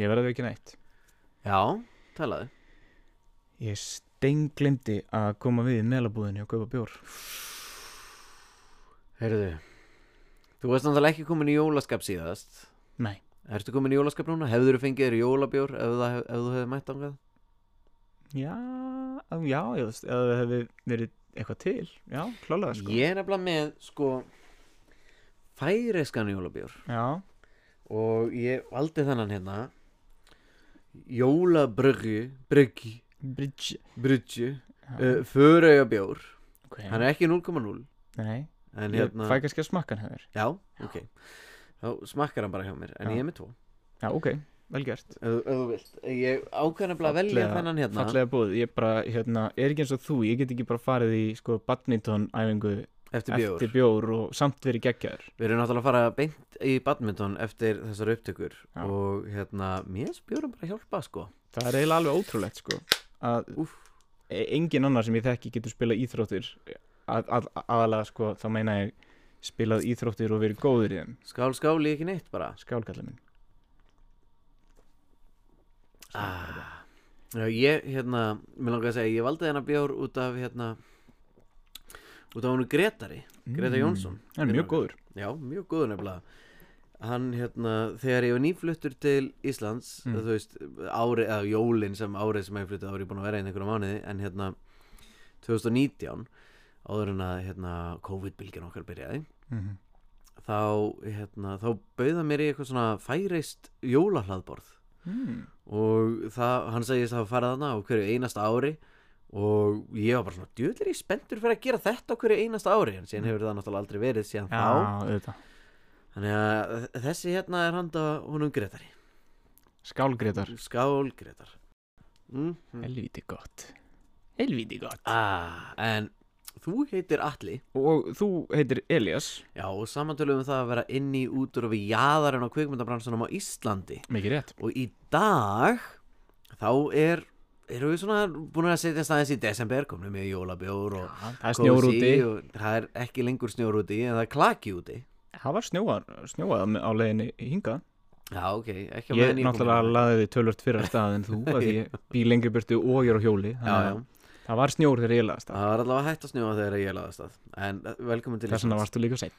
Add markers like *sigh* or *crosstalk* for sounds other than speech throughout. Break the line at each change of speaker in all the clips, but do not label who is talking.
Ég verði ekki neitt
Já, talaðu
Ég steinglimti að koma við í melabúðinni og kaupa bjór
Heyrðu Þú varst náttúrulega ekki komin í jólaskap síðast
Nei,
Ertu komin í jólaskap núna? Hefður þú fengið þér jólabjór ef, það, hef- ef þú hefði mætt ángað?
já, á, já, ég veist Ef það hefði verið eitthvað til Já, klálega sko
Ég er nefnilega með sko færeskan jólabjór
Já,
og ég valdi þennan hérna jólabröggi bröggi,
bridge
brudju
já,
uh, förauðabjór,
Ok,
hann er ekki 0,0
nei
en
Ég
hérna,
fæ kannski að smakka hann hefur
já, ok þá smakkar hann bara hjá mér, en
Já.
ég er með tvo
Já, ok, vel gert
ef, ef þú vilt, ég ákveðan nefnilega að velja
Fallega-
þennan hérna
Fallega búð, ég bara, hérna, er ekki eins og þú Ég get ekki bara farið í, sko, badminton æfingu
eftir bjór
Eftir bjór og samt verið geggjaður
Við erum náttúrulega að fara beint í badminton eftir þessar upptökur
Já.
og hérna, mér spjórum bara að hjálpa sko
Það er eiginlega alveg ótrúlegt sko að
Úff.
e- engin annar sem ég þekki getur spilað íþróttir að, að, aðalega sko þá meina ég spilað íþróttir og verið góður í þeim
Skál, skál, ég ekki neitt bara
skálkallar minn
ah. Já, Ég, hérna, mér langar að segja Ég valdi hennar bjór út af, hérna Út af hennu Gretari Greta Jónsson.
Það Mm. er mjög góður
Já, mjög góður nefnilega Hann, hérna, þegar ég var nýfluttur til Íslands
Mm.
Þú veist, ári, eða jólin sem árið sem ég fluttu Árið búin að vera einn einhverja mánuði En, hérna, 2019 Áður en að, hérna, COVID-bylgin okkar byrjaði
mm -hmm.
Þá, hérna, þá bauða mér í eitthvað svona færeist jólahlaðborð
mm.
og það, hann segist að hafa farið þarna á hverju einasta ári og ég var bara svona djöðlir ég spenntur fyrir að gera þetta á hverju einasta ári en síðan hefur það náttúrulega aldrei verið síðan
Já, auðvitað
þá þannig að þessi hérna er handa honum Gretari
Skálgretar
skál Gretar mm -hmm.
Helvíti gott Helvíti gott
ah, en þú heitir Atli
Og þú heitir Elias
já og samantölum við það að vera inn í út úr og við jaðarinn á kvikmyndabransunum á Íslandi
Mikið rétt
og í dag þá er erum við svona búin að setja staðins í desember komnum með jólabjór og
Það er snjór
kósí
úti
og það er ekki lengur snjór úti en það er klaki úti
Það var snjóar, snjóað á leiðinni hingað
já ok, ekki á
Ég
meðan ég kom
náttúrulega
hérna.
laði þið tölvört fyrir að stað en þú að
*laughs*
ég bý lengri burtu og ég er á hjóli þannig
já,
að
já.
Það var snjór þegar ég laðast það.
það var allavega hægt að snjóa þegar ég laði stað en eh, velkomin til
Þess vegna varstu líka seitt.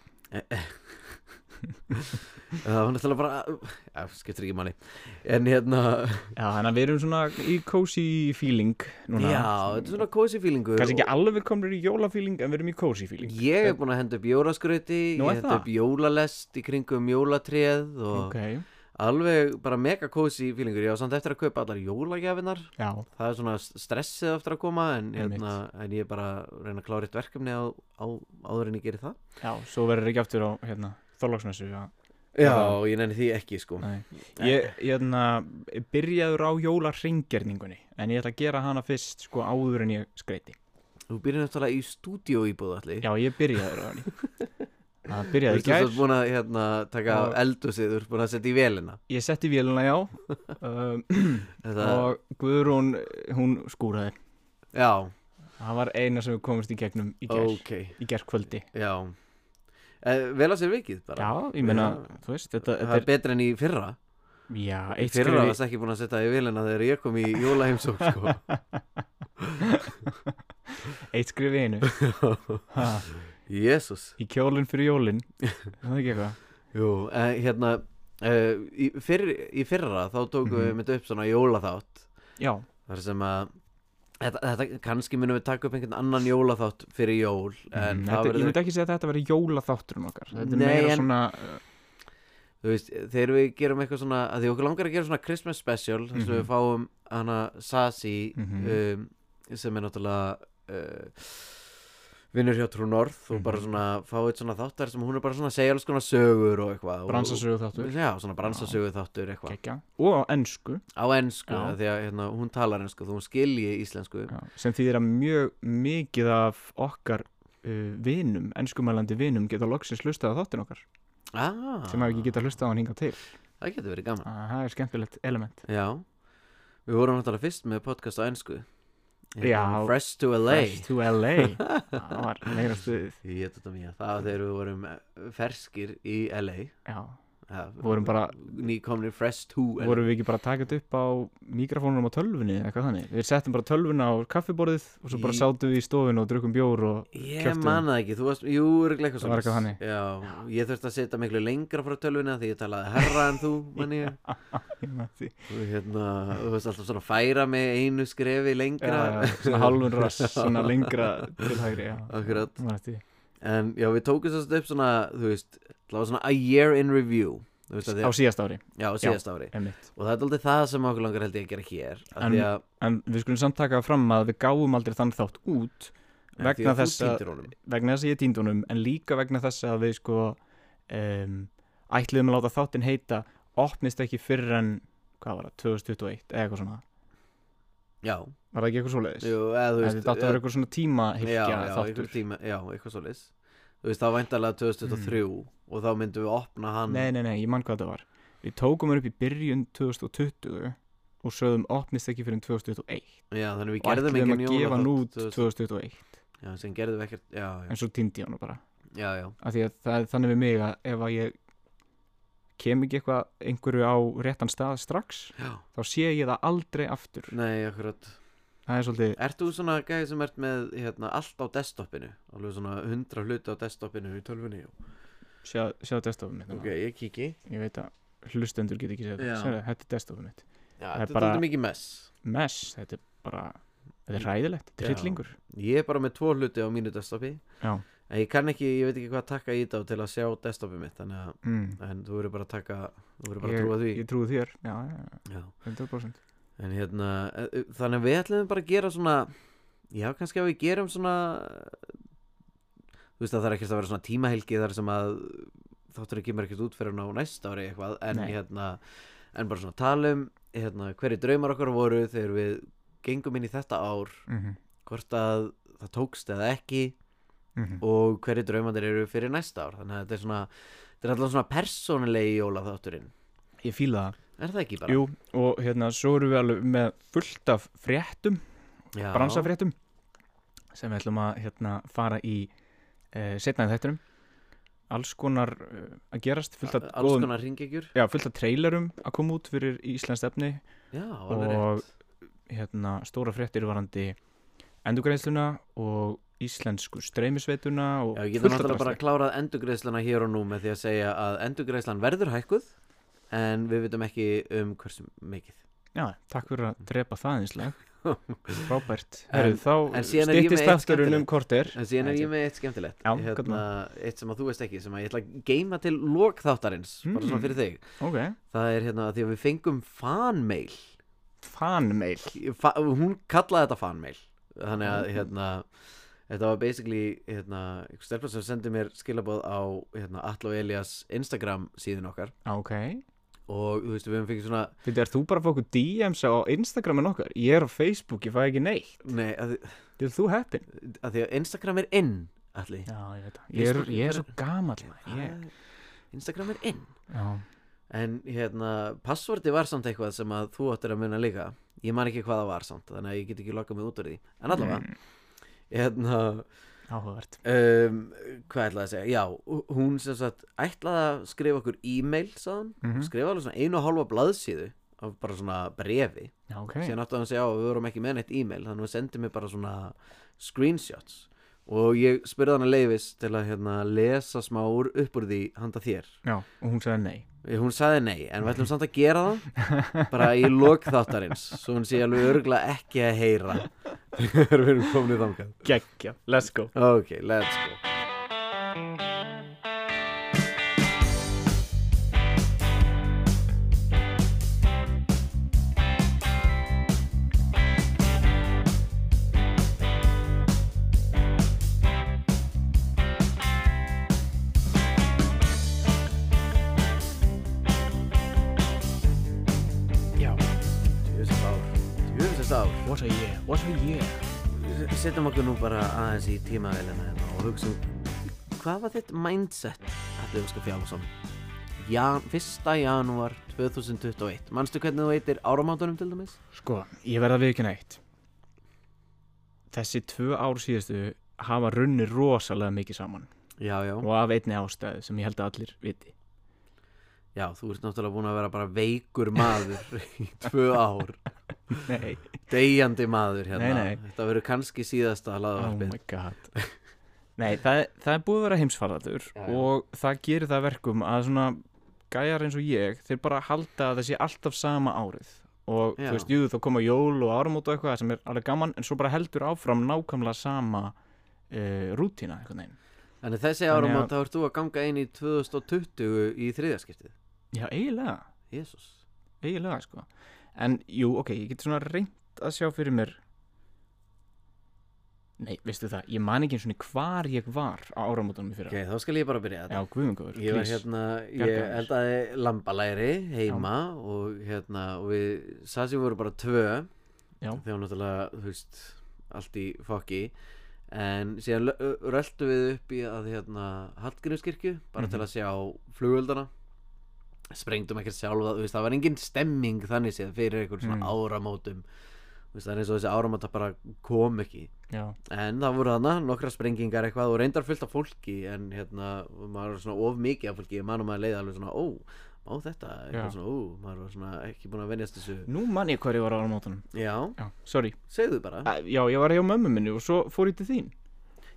það var náttúrulega bara já, skiptir ekki máli en hérna,
Já, þannig að við erum svona í cozy feeling núna.
já, þetta er svona cozy feelingu
Kanski ekki alveg komnir í jólafíling en við erum í cozy feeling.
ég er búin að henda upp jólaskrauti ég
Nú er
henda
það?
upp jólalest í kringum jólatréð og
Ok,
alveg bara mega cozy feelingur ég á samt eftir að kaupa allar jólagjafinar
já,
það er svona stressið eftir að koma en,
Einmitt.
hérna, en ég er bara að reyna að klára eitt verkefni á, á, áður en ég geri það
já, svo verður ekki aftur á hérna, þorlagsmessu. Já.
Já,
Já.
ég nenni því ekki sko
Nei. Ég, ég hérna, byrjaður á jólarringgerningunni en ég ætla að gera hana fyrst sko áður en ég skreiti.
Þú byrjar náttúrulega í stúdíó íbúð allir
Já, ég byrjaður á henni. Það
Þú
byrjaði í
veist þú
gær.
ert búin að hérna, taka
Og-
eldusið, þú ert búin að setja í velina
Ég setti vélina, já, um,
Þetta,
og Guðrún, hún skúraði.
já,
Það var eina sem við komumst í gegnum í gær.
ok
í gerðkvöldi
Já eh, Vel að sér vikið bara
Já, ég meina,
Já.
þú veist, þetta,
Það
þetta
er betra en í fyrra
er Já,
Í
eitt
Fyrra
skrifi
varst ekki búin að setja í velina þegar ég kom í jólaheimsók sko
*laughs* Eitt skrifi einu
*laughs*
ha,
Jésús
Í kjólinn fyrir jólinn Það er ekki eitthvað
Jú, eh, hérna eh, í, fyrr, í fyrra þá tókum við
Mhm.
mynd upp svona jólaþátt
Já,
þar sem að þetta, þetta, kannski munum við taka upp einhvern annan jólaþátt fyrir jól en
Mhm. Mm, þetta,
það
ég
verður,
myndi ekki segja að þetta veri jólaþátturinn okkar Þetta er
Nei,
meira
en-
svona uh,
þú veist, þegar við gerum eitthvað svona að því okkur langar að gera svona Christmas special þar sem
Mhm.
við fáum hana Sasi
Mhm.
um, sem er náttúrulega uh, vinnur hjá Trú Norð og bara
Mhm.
svona fáið svona þáttar sem hún er bara svona að segja alls konar sögur og eitthvað og-
bransasögu þáttur
Já, svona bransasögu þáttur eitthvað
Kekja. Og á ennsku
á ennsku
Já.
af því að hérna, hún talar ennsku þó hún skilji íslensku
já, sem þýðir að mjög mikið af okkar uh, vinum, enskumælandi vinum geta loksins hlustað á þáttin okkar
ah,
sem hafa ekki geta hlustað á hann hingað til
það getur verið gaman
Ah, Það er skemmtilegt element
já, við vorum náttúrulega fyrst með podcast á ennsku
Já.
Fresh to LA
Fresh to
*laughs*
LA Það var meira stuðið
Ég get þetta mjög, það var þegar við vorum ferskir eh, í LA
Já,
ja,
Vorum bara-
nýkomni fresh 2
vorum við ekki bara að taka þetta upp á mikrofónunum á tölvunni eða eitthvað þannig við settum bara tölvuna á kaffiborðið og svo bara
Í-
sátum við í stofinu og drukkum bjór og
Ég
kjöftum.
man það ekki, þú varst, jú, örugglega eitthvað
Það var eitthvað
svoleiðis. Já, ég þurfti að setja miklu lengra frá tölvuna því ég talaði herra en þú, man
*laughs*
ég
Ég man því.
Og hérna, þú veist alltaf svona að færa mig einu skrefi
Já,
lengra
já, svona halvun rass, svona lengra til hægri já.
Akkurat.
Ég man eftir því.
En Um, já, við tókum þess upp svona, þú veist, það var svona a year in review Þú veist, að
á
því,
síðast ári
já, á síðast ári
einmitt.
Og það er aldrei það sem okkur langar held ég að gera hér af
En-
Því að,
en við skulum samt taka það fram að við gáum aldrei þann þátt út
af því
vegna
að þú
þess að-
týndir honum.
vegna þess að ég týndi honum en líka vegna þess að við sko um, ætliðum að láta þáttinn heita opnist ekki fyrr en hvað var það, 2021 eða eitthvað svona
Já,
var það ekki eitthvað svoleiðis?
jú, eða þú
En
veist eh,
þetta átti að vera eitthvað svona tímahylgja
já, já,
þáttur
einhver tíma, já, eitthvað svo leis Þú veist, það var væntalega 2003 og þá myndum við opna hann
Mm. Nei, nei, nei, ég mann hvað þetta var Við tókum hann upp í byrjun 2020 og sögðum opnist ekki fyrir 2021
Já, þannig við
og
gerðum
ætliðum að
engin
gefa hann út
2000
2021
Já, sem gerðum við ekkert, já, já,
en svo týndi ég hann bara
já, já,
af því að það er þannig við mig að ef að ég kem ekki eitthvað einhverju á réttan stað strax
já.
þá sé ég það aldrei aftur
Nei, akkurat
það er svolítið
Ert þú svona gæði sem ert með hérna, allt á desktopinu Alveg svona 100 hluti á desktopinu í tölfunni
sjá, sjá desktopið mitt
Ok,
núna.
ég kíki
ég veit að hlustendur get ekki séð
Já.
það Sérðu, þetta er desktopið mitt
Já,
er
þetta
bara-
er þetta mikið mess
mess, þetta er bara þetta er ræðilegt, þetta er
Já.
hryllingur
Ég er bara með tvo hluti á mínu desktopi
Já.
En ég kann ekki, ég veit ekki hvað taka í þetta til að sjá desktopi mitt Þannig að,
mm.
en þú verður bara að taka, þú verður bara að
ég,
trúa því
ég trúi þér já, já, já,
Já
100%
En hérna, eh, þannig að við ætlum bara að gera svona Já, kannski að við gerum svona Þú veist að það er ekkert að vera svona tímahelgi þar sem að þáttur ekki mér ekkert út fyrir á næsta ári eitthvað En
Nei.
hérna, en bara svona talum hérna, Hverju draumar okkar voru þegar við gengum inn í þetta ár
mm
Hvort að það tókst eða ekki Og hverju draumandir eru fyrir næsta ár Þannig að þetta er svona, þetta er alltaf svona persónulegi jóla þátturinn
ég fíla það
Er það ekki bara?
Jú, og hérna svo erum við alveg með fullt af fréttum
Já.
bransafréttum sem við ætlum að hérna, fara í uh, setnaði þætturum alls konar uh, að gerast fullt af,
Alls
góðum-
konar ringegjur
já, fullt af trailerum að koma út fyrir Íslands efni
Já, alveg
Og-
rétt
hérna, stóra fréttir varandi endurgreinsluna og íslensku streymisveituna og
Já, ég geta
fullt af
náttúrulega bara
drasli.
klárað endurgreiðslana hér og nú með því að segja að endurgreiðslan verður hækkuð en við veitum ekki um hversu mikið
Já, takk fyrir að drepa það *laughs* einslega Frábært
En-
Herru, þá
en síðan er ég
styttist
með eitt
afturinn um
skemmtilegt.
korter
En síðan er ég með eitt skemmtilegt
Já, hvað er
hérna, Eitt sem að þú veist ekki sem að ég ætla að geima til lok þáttarins bara svona
Mm.
fyrir þig
Ok,
Það er hérna að því að við fengum fanmail
fanmail
Fa Hún kallaði þetta fanmail Þannig að hérna Þetta var basically hérna, einhver stelpa sem sendi mér skilaboð á hérna, Atlo Elias Instagram síðun okkar
Ok
og þú veist við höfum fengið svona
Þetta er þú bara að fá okkur DMs á Instagramin okkar Ég er á Facebook, ég fæ ekki neitt
Nei, að,
Þetta er þú heppin
að því að Instagram er inn allir
Já, ég veit það Ég er,
Facebook,
ég er
hver-
svo gamall maður, ég,
Instagram er inn
Já,
en hérna, passvorti var samt eitthvað sem að þú áttir að muna líka ég man ekki hvað það var samt, þannig að ég get ekki lokað mig út úr því en allavega, hérna
áhugavert
um, hvað ætlaði að segja, já hún sem sagt, ætlaði að skrifa okkur e-mail sáðan, mm
Mhm.
skrifa alveg svona einu og hálfa blaðsíðu af bara svona brefi
Já, ok
síðan átti hann að segja að við vorum ekki með neitt e-mail þannig að hann sendi mér bara svona screenshots og ég spurði hann að leifis til að hérna, lesa smá úr upp úr því handa þér
Já, og hún sagði nei
Eh, hún sagði nei, en við ætlum samt að gera það *laughs* bara í lok þáttarins svo hún sé alveg örgulega ekki að heyra *laughs* þegar við erum komin í þangað
Gekkja, let's go
ok, let's go
Já,
djöfisins ár, djöfisins ár
what a year, what a year
S- setjum okkur nú bara aðeins í tímavelina hérna og hugsa um hvað var þitt mindset allir Óskar Fjálason Jan, 1. janúar 2021 manstu hvernig þú heitir áramátunum til dæmis?
Sko, ég verða að viðkynna eitt Þessi tvö ár síðustu hafa runni rosalega mikið saman
já, já,
og af einni ástæðu sem ég held að allir viti
Já, þú ert náttúrulega búin að vera bara veikur maður *laughs* í tvö ár
Nei,
deyjandi maður hérna
Nei, nei.
Þetta verður kannski síðasta
oh
hlaðvarpið
my god *laughs* Nei, það, er- það er búið að vera heimsfaraldur
Já, já.
og það gerir það verkum að svona gæjar eins og ég, þeir bara halda að það sé alltaf sama árið og
Já.
þú veist, jú, þá koma jól og áramót og eitthvað sem er alveg gaman, en svo bara heldur áfram nákvæmlega sama uh, rútína, einhvern veginn.
Þannig þessi
Þannig
árum
að-
þá ert þú að ganga inn í 2020 í þriðaskiptið
Já, eiginlega
Jésús
eiginlega sko en jú, ok, ég get svona reynt að sjá fyrir mér nei, veistu það, ég man ekki eins og hvar ég var á áramótunum í fyrra
Ok, þá skal ég bara byrja þetta
já, guðmengur,
Ég var hérna, ég
Bjargaðu mér.
eldaði lambalæri heima og hérna og við Sassi voru bara tvö
Já.
þegar náttúrulega, þú veist, allt í fokki en síðan lö- röltu við upp í að hérna Hallgrímskirkju, bara
Mhm.
til að sjá flugöldana sprengdum ekkert sjálfa, þú veist, það var engin stemming þannig séð fyrir einhver svona
Mm.
áramótum þú veist, það er eins og þessi áramóta bara kom ekki
já,
En það voru þarna nokkra sprengingar eitthvað og reyndar fullt af fólki en hérna, maður var svona of mikið af fólki ég manum að leiða alveg svona, ó, má
Já.
þetta eitthvað svona, ó, maður var svona ekki búin að venjast þessu
nú man ég hvar ég var á áramótunum
Já,
já, sorry,
segðu bara
Æ, já, ég var hjá mömmu minni og svo fór ég til þín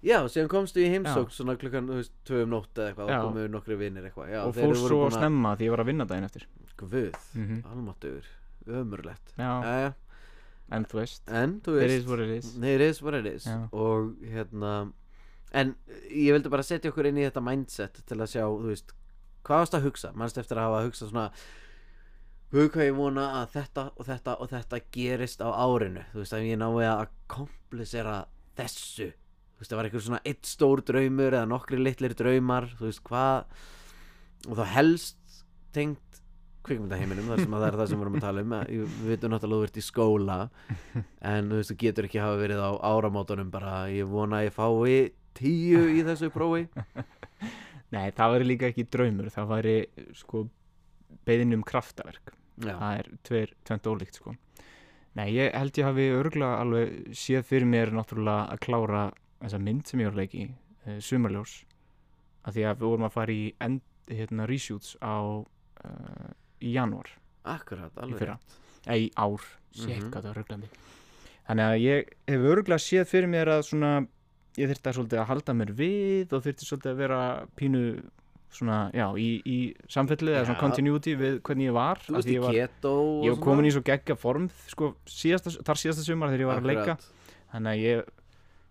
Já, síðan komstu í heimsók svona klukkan, þú veist, tvö um nótt eða eitthvað
Já.
og komu nokkri vinnir eitthvað Já,
og
þeir
fór
voru
svo
búin að-
snemma því ég var að vinna daginn eftir
Guð,
mm
almáttugur, ömurlegt
já,
Jæja,
en þú veist
en þú
there
veist
is what it is
Nei, it is what it is
Já.
Og hérna En ég vildi bara setja okkur inn í þetta mindset Til að sjá, þú veist Hvað varst að hugsa? Manst eftir að hafa að hugsa svona Hug hvað ég vona að þetta og þetta og þetta gerist á árinu Þú veist að ég nái að komplisera þessu Þú veist það var eitthvað svona eitt stór draumur Eða nokkri litlir draumar Þú veist hvað Og þá helst tengt kvikmyndaheiminum þar sem að það er það sem við erum að tala um að- við veitum náttúrulega að þú ert í skóla en þú veist, þú getur ekki hafa verið á áramótunum bara, ég vona að ég fái tíu í þessu
*laughs*
prófi
nei, það væri líka ekki draumur það væri sko beðin um kraftaverk
já,
það er tveir, tvent ólíkt sko Nei, ég held ég hafi örgulega alveg séð fyrir mér náttúrulega að klára þessa mynd sem ég var að leiki, uh, Sumarljós af því að við vorum að fara í end, hérna, reshoots á uh, í janúar,
akkurat,
í
alveg
fyrra eða í ár, sétt
Mhm.
hvað það var örglandi Þannig að ég hef örgulega séð fyrir mér að svona, ég þyrfti að svolítið að halda mér við og þyrfti svolítið að vera pínu svona, já, í, í samfellið eða svona
Já.
continuity við hvernig ég var
þú
af
veist
því
í
ég var
keto
ég var komin í svo geggja form sko, síðasta, þar síðasta sumar þegar ég var að leika þannig að ég,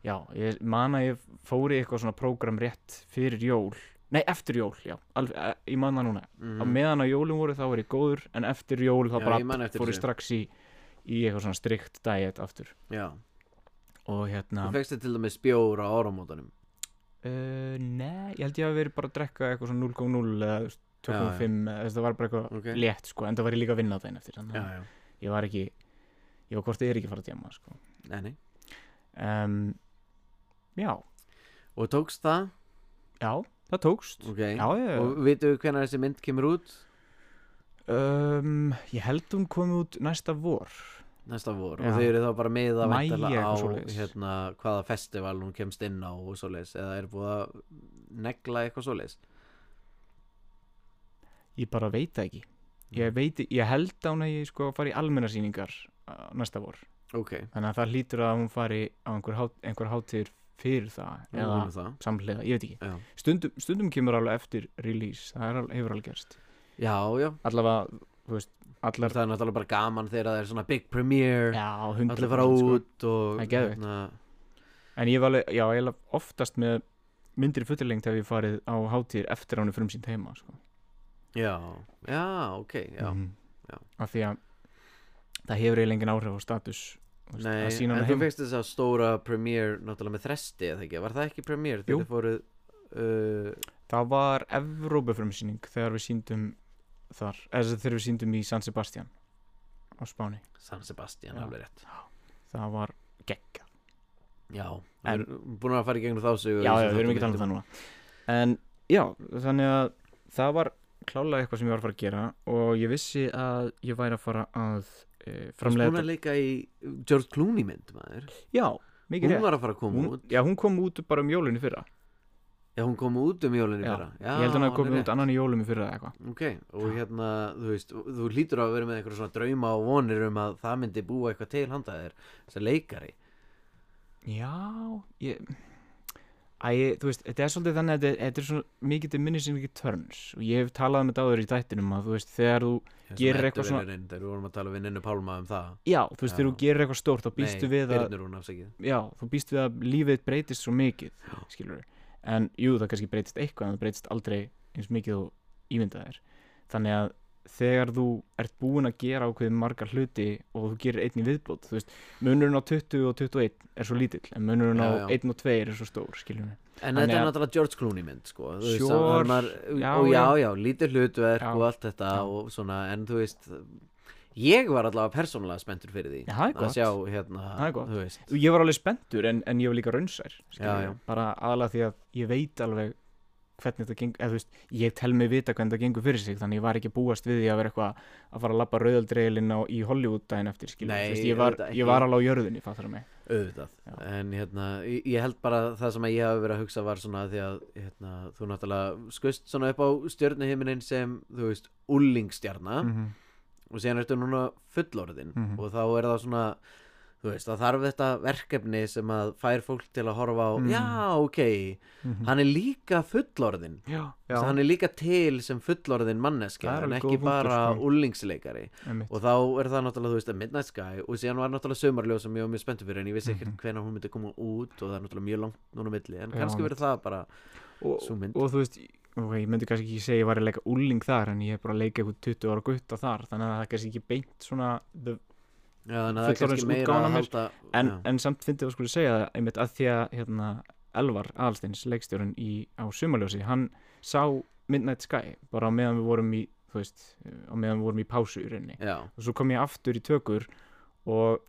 já, ég man að ég fóri eitthvað svona prógram rétt fyrir jól, nei eftir jól já, alveg, eh, ég man það núna á
mm,
meðan á jólum voru þá var ég góður en eftir jól þá
Já, ég man
bara
eftir
fór ég
þessu.
strax í í eitthvað svona strikt diet aftur
já,
og hérna
þú fegst þetta til dæmis bjór á áramótunum
uh, nei, ég held ég hafi verið bara að drekka eitthvað svona 0,0 eða 2,5 eða það var bara eitthvað
Ok.
létt sko, en það var ég líka að vinna það eftir þannig
já,
að
já,
ég var ekki ég var hvort ég er ekki að fara að djama sko.
nei, nei
um, já,
og tókst það,
já, það tókst
ok
já, já, já.
og vitum við hvenær þessi mynd kemur út
Um, ég held hún kom út næsta vor
næsta vor
Já.
og þau eru þá bara með að
Maí,
væntanlega á
eitthvað svoleiðis.
hérna, hvaða festival hún kemst inn á og svoleiðis, eða er búið að negla eitthvað svoleiðis
ég bara veit það ekki
Mm.
ég, veit, ég held að hún að ég sko fari í almennarsýningar uh, næsta vor
ok,
þannig að það hlýtur að hún fari á einhver, hát, einhver hátíður fyrir það
við
eða
vonum það
samhliða, ég veit ekki
Já.
stundum, stundum kemur alveg eftir release það er, alveg- hefur alveg gerst
já, já,
allavega, þú veist, allar
það er náttúrulega bara gaman þegar það er svona big premiere
já, sko. hundra
allir fara út og
Það er geðveikt.
hérna,
En ég var alveg, já, ég oftast með myndir fullirlengt hef ég farið á hátíðir eftir að hún er frumsýnd heima, sko.
já, já, ok já.
Mhm.
já.
Af því að það hefur eiginlega engin áhrif á status. þú veist,
Nei,
að sína
en
hana
þú
heima.
fegst þess að stóra premiere náttúrulega með þresti eða ekki, var það ekki premiere
Jú.
þegar þið fóruð uh,
Það var Evrópufrumsýning þegar við síndum þar, eða sem þegar við síndum í San Sebastian á Spáni.
San Sebastian,
Já.
alveg rétt
Það var gegga.
já,
En-
en, búin að fara í gegnum þá sögu
Já, já,
í þessum
við erum ekki að tala um
þáttum.
það núna. En já, þannig að það var klálega eitthvað sem ég var að fara að gera og ég vissi að ég væri að fara að uh,
Þú varst búin
framlega
að leika í George Clooney mynd maður
Já, mikið
hún
rétt
var að fara að koma
hún,
út
Já, hún kom út bara um jólunni fyrra
Já, hún kom út um jólunni
Já,
bara
ég held að hann hafi komið út annan í jólum í fyrra eða eitthvað
Ok, og hérna, þú veist, þú hlýtur að vera með einhverja svona drauma og vonir um að það myndi búa eitthvað til handa þér, þess að leikari
Já, ég Æ, ég- þú veist, þetta er svolítið þannig að þetta, þetta er svona mikið til minni sem ekki törns og ég hef talað um þetta áður í dættinum að þú veist, þegar þú
Ég er
Gerir
svona
eitthvað svona-
edduvinurinn, Þegar við vorum að tala við Ninnu Pálma um það
Já, þú veist,
Já.
þegar þú gerir eitthvað stórt þá býstu
Nei,
við að
Birnir hún afsakið
Já, þú býstu við að lífið breytist svo mikið
Já.
skilur en jú, það kannski breytist eitthvað en það breytist aldrei eins mikið og ímyndað er þannig að þegar þú ert búin að gera ákveðið margar hluti og þú gerir einn í viðbót þú veist, munurinn á 20 og 21 er svo lítill en munurinn
Já,
á
já.
1 og 2 er svo stór skilur
En
Þannig
þetta er
að-
náttúrulega George Clooney mynd sko. Þú veist,
Sure,
hann var,
já,
og já,
já.
já, lítið hlutverk
Já,
og allt þetta
já.
og svona, en þú veist ég var allavega persónulega spenntur fyrir því
Já, það er
að
gott.
sjá hérna,
Það er gott.
þú veist
ég var alveg spenntur en, en ég var líka raunsær
Já,
skilurðu.
já.
bara aðalega því að ég veit alveg hvernig þetta gengur, eða þú veist, ég tel mig vita hvernig þetta gengur fyrir sig, þannig ég var ekki að búast við því að vera eitthvað að fara að lappa rauðaldreilin á í Hollywood daginn eftir, skilur, þú
Nei,
veist, ég var,
auðvitað ekki.
ég var alveg á jörðinni, fattar það mig
auðvitað
Já.
en hérna, ég ég held bara að það sem að ég hafi verið að hugsa var svona því að hérna, þú náttúrulega skust svona upp á stjörnuhiminin sem, þú veist, ullingstjarna
-hmm.
og síðan ertu núna fullorðin
Mhm.
og þá er það svona þú veist, það þarf þetta verkefni sem að fær fólk til að horfa á
Mm.
já, ok, hann er líka fullorðin
Mhm. já,
Já. hann er líka til sem fullorðin manneskja
Það er
en
alveg
ekki
góð punktur,
bara
sko.
ullingsleikari
einmitt.
og þá er það náttúrulega, þú veist, að Midnight Sky og síðan var náttúrulega sömarljóð sem ég var mjög spenntur fyrir en ég vissi ekkert mm
Mhm.
hvenær hún myndi koma út og það er náttúrulega mjög langt núna á milli en
Já,
kannski
einmitt.
verið það bara
og,
sú mynd
og þú veist, ok, ég myndi kannski ekki segja ég var að leika úling þar, en ég er bara að leika eitthvað 20 ára gutta þar, þannig að það er kannski ekki beint svona, the,
Já, þannig að það er
fullorðins
kannski meira
útgáfan
að
af mér.
halda
en,
já.
en samt fyndið að skulle segja það, einmitt að því að hérna, Elvar Alsteins, leikstjórun í, á Sumaljósi, hann sá Midnight Sky, bara á meðan við vorum í þú veist, á meðan við vorum í pásu í rauninni,
Já,
og svo kom ég aftur í tökur og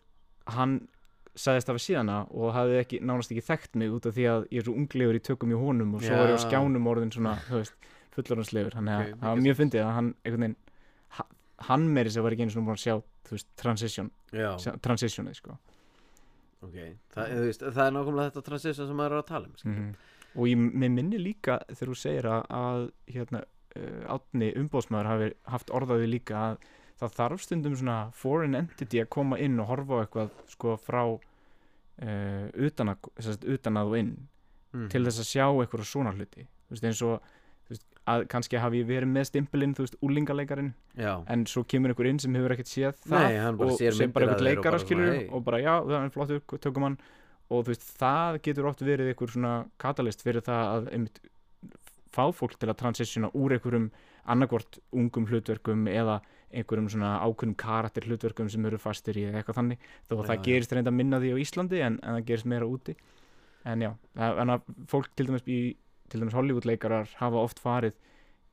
hann sagðist af að síðana og hafði ekki, nánast ekki þekkt mig út af því að ég er svo unglegur í tökum í honum og svo
Já.
var ég á skjánum orðin svona, þú veist, fullorðanslegur þannig að
Ok,
það var
mikið
mjög fyndið að hann einhvern veginn, ha- hann meiri sem var ekki einu svona búin að sjá, þú veist, transition
já,
sjá- transitionið, sko
ok Þa, þú veist, Það er nákvæmlega þetta transition sem maður er að tala um
Mhm.
mm.
og ég, mér minni líka þegar þú segir að, að hérna, uh, átni umbóðsmaður hafi haft orðaði líka að það þarf stundum svona foreign entity að koma inn og horfa á eitthvað sko frá uh, utan, að, sem sagt, utan að og inn
Mm.
til þess að sjá eitthvað svona hluti þú veist eins og þú veist, að kannski hafi ég verið með stimpilinn, þú veist, úlingaleikarin
Já,
en svo kemur einhver inn sem hefur ekkert séð það
Nei, hann bara
og
sér
sem
myndir
bara einhvern
af þér og bara
leikara
svona,
skilur
hey.
og bara já, það er flottur, tökum hann og þú veist, það getur oft verið einhver svona katalist fyrir það að einmitt fá fólk til að transitiona úr einhverjum annarkvort ungum hlutverkum eða einhverjum svona ákveðnum karakter hlutverkum sem eru fastir í eða eitthvað þannig þó að
Já,
það
já.
gerist reynda minna því á Íslandi en, en það gerist meira úti en já, það- en að fólk til dæmis í til dæmis Hollywood leikarar hafa oft farið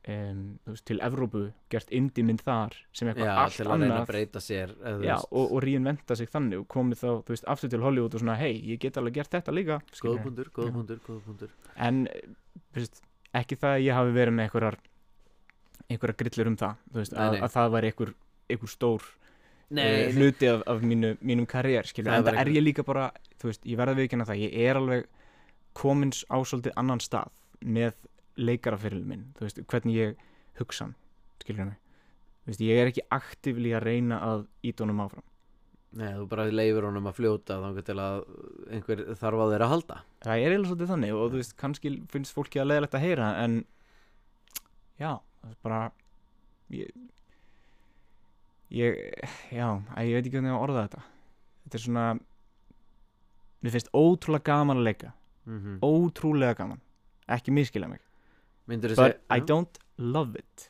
um, veist, til Evrópu gert indie mynd þar sem eitthvað
já
allt
til að reyna að
annað
breyta sér eða, þú
já,
veist,
og, og reinventa sig þannig og komið þá þú veist, aftur til Hollywood og svona hei, ég get alveg gert þetta líka skilurðu.
Góðbundur,
Já.
góðbundur, góðbundur
en eh, þú veist, ekki það að ég hafi verið með einhverjar einhverjar grillur um það þú veist,
Nei,
að,
nei.
að það væri einhver, einhver stór
Nei,
eh,
nei,
hluti af, af mínu, mínum karriér skilur,
Það
en
var
það er
einhver-
ég líka bara þú veist, ég verða viðkynna það, ég er alveg komins á svolítið annan stað með leikaraferilin minn þú veist, hvernig ég hugsa hann skilur mig, þú veist, ég er ekki aktífli að reyna að íta honum áfram
nei, þú bara leifir honum að fljóta þangar til að einhver þarf á þeir að halda
það er eiginlega svolítið þannig og þú veist, kannski finnst fólki að leiðilegt að heyra en já, það er bara ég ég, já, æ, ég veit ekki hvernig ég á að orða þetta þetta er svona mér finnst ótrúlega gaman að leika
mm
Mhm.
-hmm.
ótrúlega gaman ekki miskila mig
Myndur
but I don't love it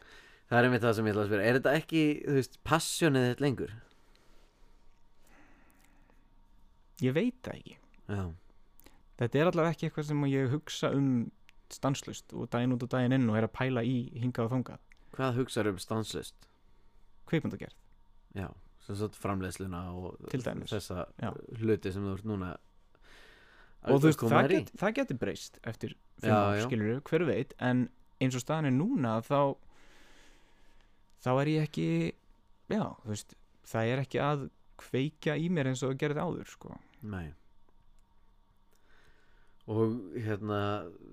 Það er einmitt það sem ég ætla að spyrja Er þetta ekki, þú veist, passjónið þitt lengur?
ég veit það ekki
Já,
þetta er allavega ekki eitthvað sem ég hugsa um stanslust og daginn út og daginn inn og er að pæla í hingað og þongað
hvað hugsaður um stanslust?
kveikmyndagerð
Já, sem sagt framleiðsluna og
Til dæmis.
þessa
Já.
hluti sem þú ert núna að
og þú veist,
koma
það,
þér í.
get, það getur breyst eftir
Já,
fimm ár,
já.
skilur hver veit en eins og staðan er núna þá þá er ég ekki já, þú veist það er ekki að kveikja í mér eins og það gerði áður sko.
Nei og hérna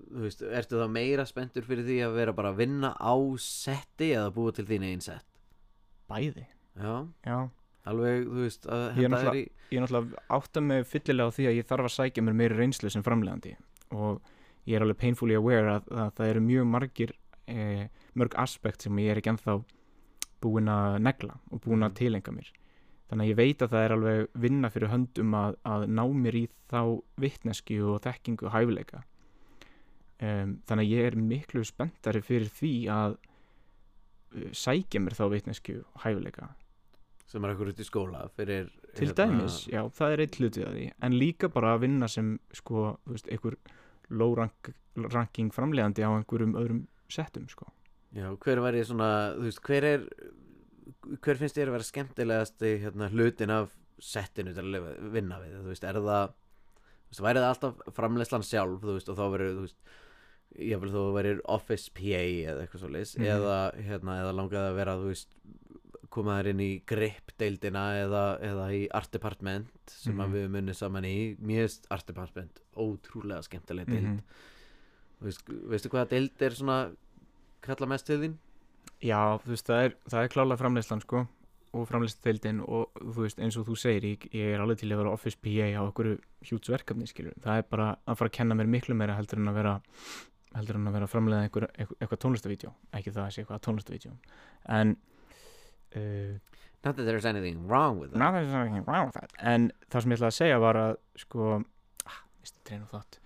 þú veist, ertu þá meira spenntur fyrir því að vera bara að vinna á setti eða búa til þín einn sett
Bæði
já,
Já,
alveg, þú veist að
Ég er
þetta er í,
ég náttúrulega átta mig fyllilega á því að ég þarf að sækja mér meiri reynslu sem framlegandi og ég er alveg painfully aware að, að það eru mjög margir eh, mörg aspekt sem ég er ekki ennþá búin að negla og búin að
Mhm.
tilenga mér þannig að ég veit að það er alveg vinna fyrir höndum að, að ná mér í þá vitnesku og þekkingu og hæfileika um, þannig að ég er miklu spenntari fyrir því að eh, sækja mér þá vitnesku og hæfileika
sem er akkur út í skóla fyrir hérna,
til dæmis, já, það er eitt hlutið að því en líka bara að vinna sem sko, þú veist, einhver low rank, ranking framleiðandi á einhverjum öðrum settum, sko
já, hver var ég svona, þú veist, hver er hver finnst þér að vera skemmtilegast hérna, hlutin af settinu til að lifa, vinna við, þú veist, er það þú veist, væri það alltaf framleyslan sjálf þú veist, og þá verður, þú veist ég vil þú verður office PA eða eitthvað svo
Mhm.
eða, hérna, eða langaði að vera þú veist, koma þær inn í grip deildina eða, eða í art department sem
Mhm.
að við munum saman í mér finnst art department ótrúlega skemmtileg deild
Mhm.
Þú veist, veistu hvaða deild er svona kalla mest til þín?
Já, þú veist, það er, það er klálega framleiðslan, sko og framleiðsdeildin og þú veist, eins og þú segir ég, ég er alveg til að vera office PA á einhverju hjúts verkefni, skilur það er bara að fara að kenna mér miklu meira heldur en að vera heldur en að vera að framleiða einhver, einhver, eitthvað tónlistavídjó ekki það að sé eitthvað tónlistavídjó en uh,
Not that there's anything wrong with that
Now there's nothing wrong with that En það sem ég ætlaði að segja var að sko, ah, misti treyna þátt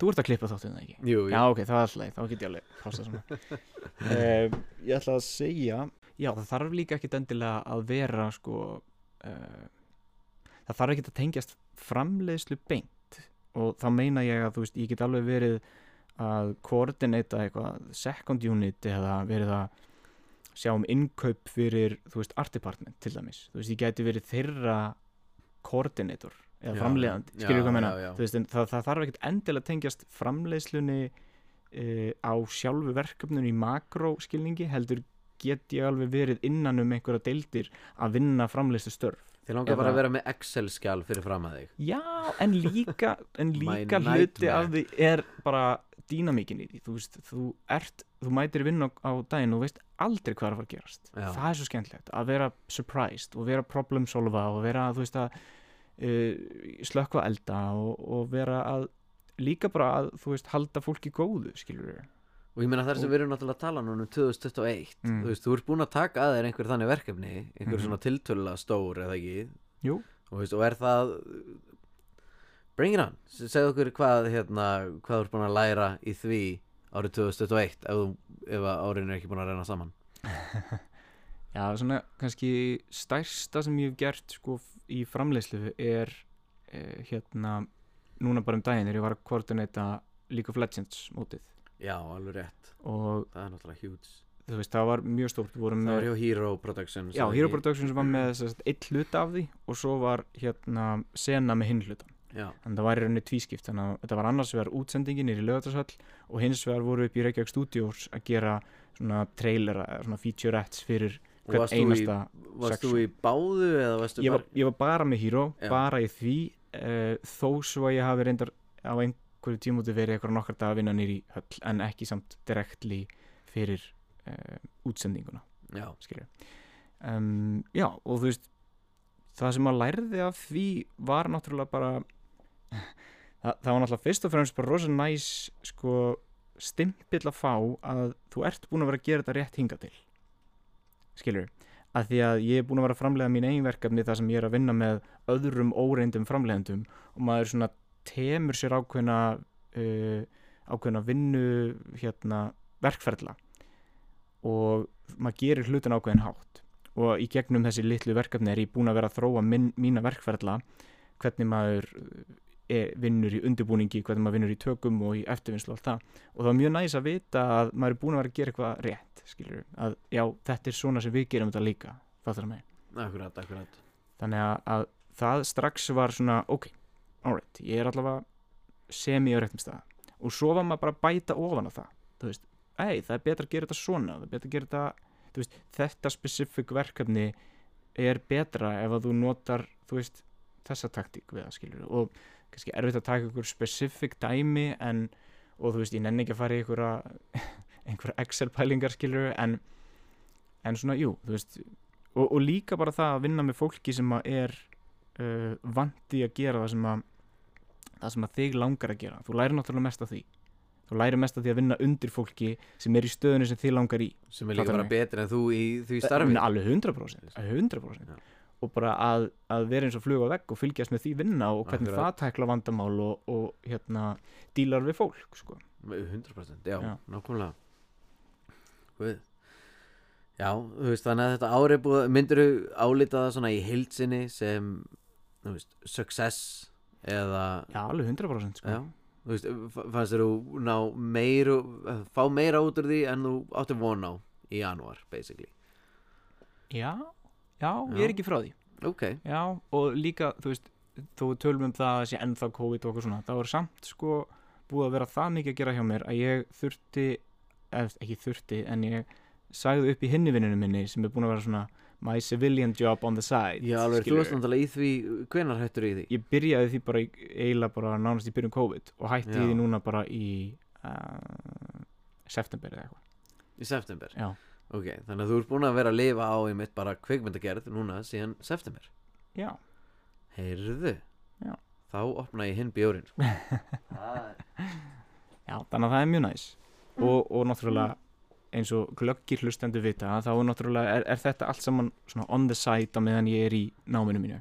Þú ert að klippa þáttinn það ekki
Jú, jú.
Já, ok, það er alltaf, leið, þá get ég alveg pása svona
*laughs*
um, Ég ætla að segja Já, það þarf líka ekkit endilega að vera sko uh, Það þarf ekkit að tengjast framleiðslu beint og þá meina ég að þú veist, ég get alveg verið að koordinata eitthvað second unit eða verið að sjá um innkaup fyrir, þú veist, art department til dæmis, þú veist, ég geti verið þeirra koordinator eða
Já,
framleiðandi,
já,
skilur hvað ég meina
já, já.
þú veist, en það, það þarf ekkit endilega að tengjast framleiðslunni uh, á sjálfu verkefninu í makróskilningi heldur get ég alveg verið innan um einhverja deildir að vinna framleiðslu störf
Þið langar
Eða-
bara að vera með Excel-skjál fyrir fram að þig
já, en líka, en
*laughs* My
líka hluti
nightmare.
af því er bara dýnamíkin í því, þú veist, þú ert þú mætir í vinna á daginn og þú veist aldrei hvað er að fara að gerast,
Já.
það er svo skemmtilegt að vera surprised og vera problem solva og vera, þú veist, að uh, slökva elda og, og vera að líka bara að, þú veist, halda fólki góðu, skilur við
Og ég meina þar sem við erum náttúrulega að tala núna um 2021
Mm.
Þú veist, þú ert búin að taka að þér einhver þannig verkefni einhver
Mhm.
svona tiltölulega stór eða ekki
Jú.
Og, veist, og er það Bring it on Segðu okkur hvað, hérna, hvað þú ert búin að læra í því árið 2021 ef, þú, ef að árin er ekki búin að reyna saman
Já, svona kannski stærsta sem ég hef gert sko f- í framleiðslu er eh, hérna núna bara um daginn þegar ég var að koordinata League of Legends mótið
Já, alveg rétt
og
Það er náttúrulega huge
þú veist það var mjög stórt, við vorum
Það
með
var hjá Hero Productions
Mm. Já,
eða
Hero
ekki?
Productions var með sem sagt, einn hluta af því og svo var hérna sena með hinn hlutan
Já,
en það var í rauninni tvískipt þannig að þetta var annars vegar útsendingin er í lögatarsall og hins vegar voru upp í Reykjavík Studios að gera svona trailera, eða svona featurettes fyrir
Og
hvern
varst þú í-
einasta
varst þú
section.
í báðu eða varst þú
ég var, ég var bara með Hero,
Já.
bara í því uh, þó svo að ég hafi reyndar á einhverju tímúti verið eitthvað nokkar dag að vinna nýri höll en ekki samt direktli fyrir uh, útsendinguna
bara Já,
skilur um, já og þú veist það sem maður lærði af því var náttúrulega bara *laughs* það, það var náttúrulega fyrst og fremst bara rosa næs sko stimpill að fá að þú ert búin að vera að gera þetta rétt hinga til skilur að því að ég er búin að vera að framlega mín eigin verkefni þar sem ég er að vinna með öðrum óreindum framlegendum og maður svona temur sér ákveðna uh, ákveðna vinnu hérna verkferðla og maður gerir hlutin ákveðin hátt og í gegnum þessi litlu verkefni er ég búin að vera að þróa minn, mína verkferðla hvernig maður eh, er, vinnur í undirbúningi, hvernig maður vinnur í tökum og í eftirvinnslu og allt það og það var mjög næs að vita að maður er búin að vera að gera eitthvað rétt skilur, að já, þetta er svona sem við gerum þetta líka, fattur það mig
akkurat, akkurat
þannig að, að það strax var svona ok, alright, ég er allavega semi á réttum stað og svo var maður bara að bæta ofan á það þú veist, ei, það er betra að gera þetta svona það er betra að gera þetta, þú veist, þetta specific verkefni er betra ef að þú notar, þú veist þessa taktík við það skilur og kannski erfitt að taka ykkur specific dæmi en, og þú veist, ég nenni ekki að fara í ykkur *laughs* einhverja Excel-pælingar skilur en, en svona, jú, þú veist og, og líka bara það að vinna með fólki sem að er uh, vandi að gera það sem að það sem að þig langar að gera þú lærir náttúrulega mest af því þú lærir mest af því að vinna undir fólki sem er í stöðunni sem þig langar í
sem er líka
Fattar
bara
mig.
betur en þú í því starfi
Nei, alveg 100%, alveg 100%.
Já.
og bara að, að vera eins og flug á vegg og fylgjast með því vinna og hvernig
Akkurat.
það tækla vandamál og, og hérna dílar við fólk sko.
100% já,
Já.
nákvæmlega Guð Já, þú veist, þannig að þetta ári búið myndir þú álita það svona í heilsinni sem, þú veist, success eða
já, alveg 100% sko.
Já, þú veist, f- fannst þér þú ná meira, fá meira út úr því en þú átti von á í janúar, basically.
já, já, ég
Já.
er ekki frá því
Ok,
já, og líka, þú veist þú tölum um það að sé ennþá COVID og okkur svona það var samt sko búið að vera það mikið að gera hjá mér að ég þurfti eða ekki þurfti, en ég sagði upp í hinni vinninu minni sem er búin að vera svona my civilian job on the side
já alveg, þú
skilurðu.
varst náttúrulega í því, hvenar hættur í því?
ég byrjaði því bara í- eiginlega bara nánast í byrjun COVID og hætti
Já.
því núna bara í uh, september eða eitthvað
Í september?
Já.
Ok, þannig að þú ert búin að vera að lifa á einmitt bara kveikmyndagerð núna síðan september.
já,
Heyrðu,
Já.
þá opna ég hinn bjórin.
*laughs*
sko. Það er-
já, þannig að það er mjög næs og, og náttúrulega eins og glöggir hlustendur vita þá er náttúrulega er, er þetta allt saman svona on the side á meðan ég er í náminu mínu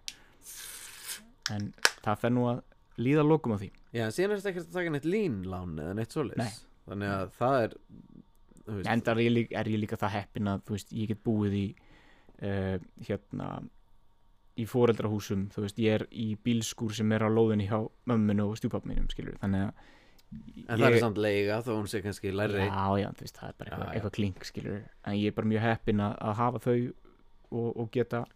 en það fer nú að líða lokum á því
Já, síðan er þetta ekkert að taka neitt línlán eða neitt svoleiðis.
Nei.
Þannig að það er, þú veist,
en það er, ég líka- er ég líka það heppin að þú veist, ég get búið í uh, hérna í foreldrahúsum, þú veist, ég er í bílskúr sem er á lóðinni hjá mömminu og stjúpappa mínum, skilur, þannig að
en það er samt leiga þó hún sé kannski lærri.
Já, já, þú veist, það er bara eitthvað,
Já, já.
eitthvað klink, skilur en ég er bara mjög heppin að, að hafa þau og, og geta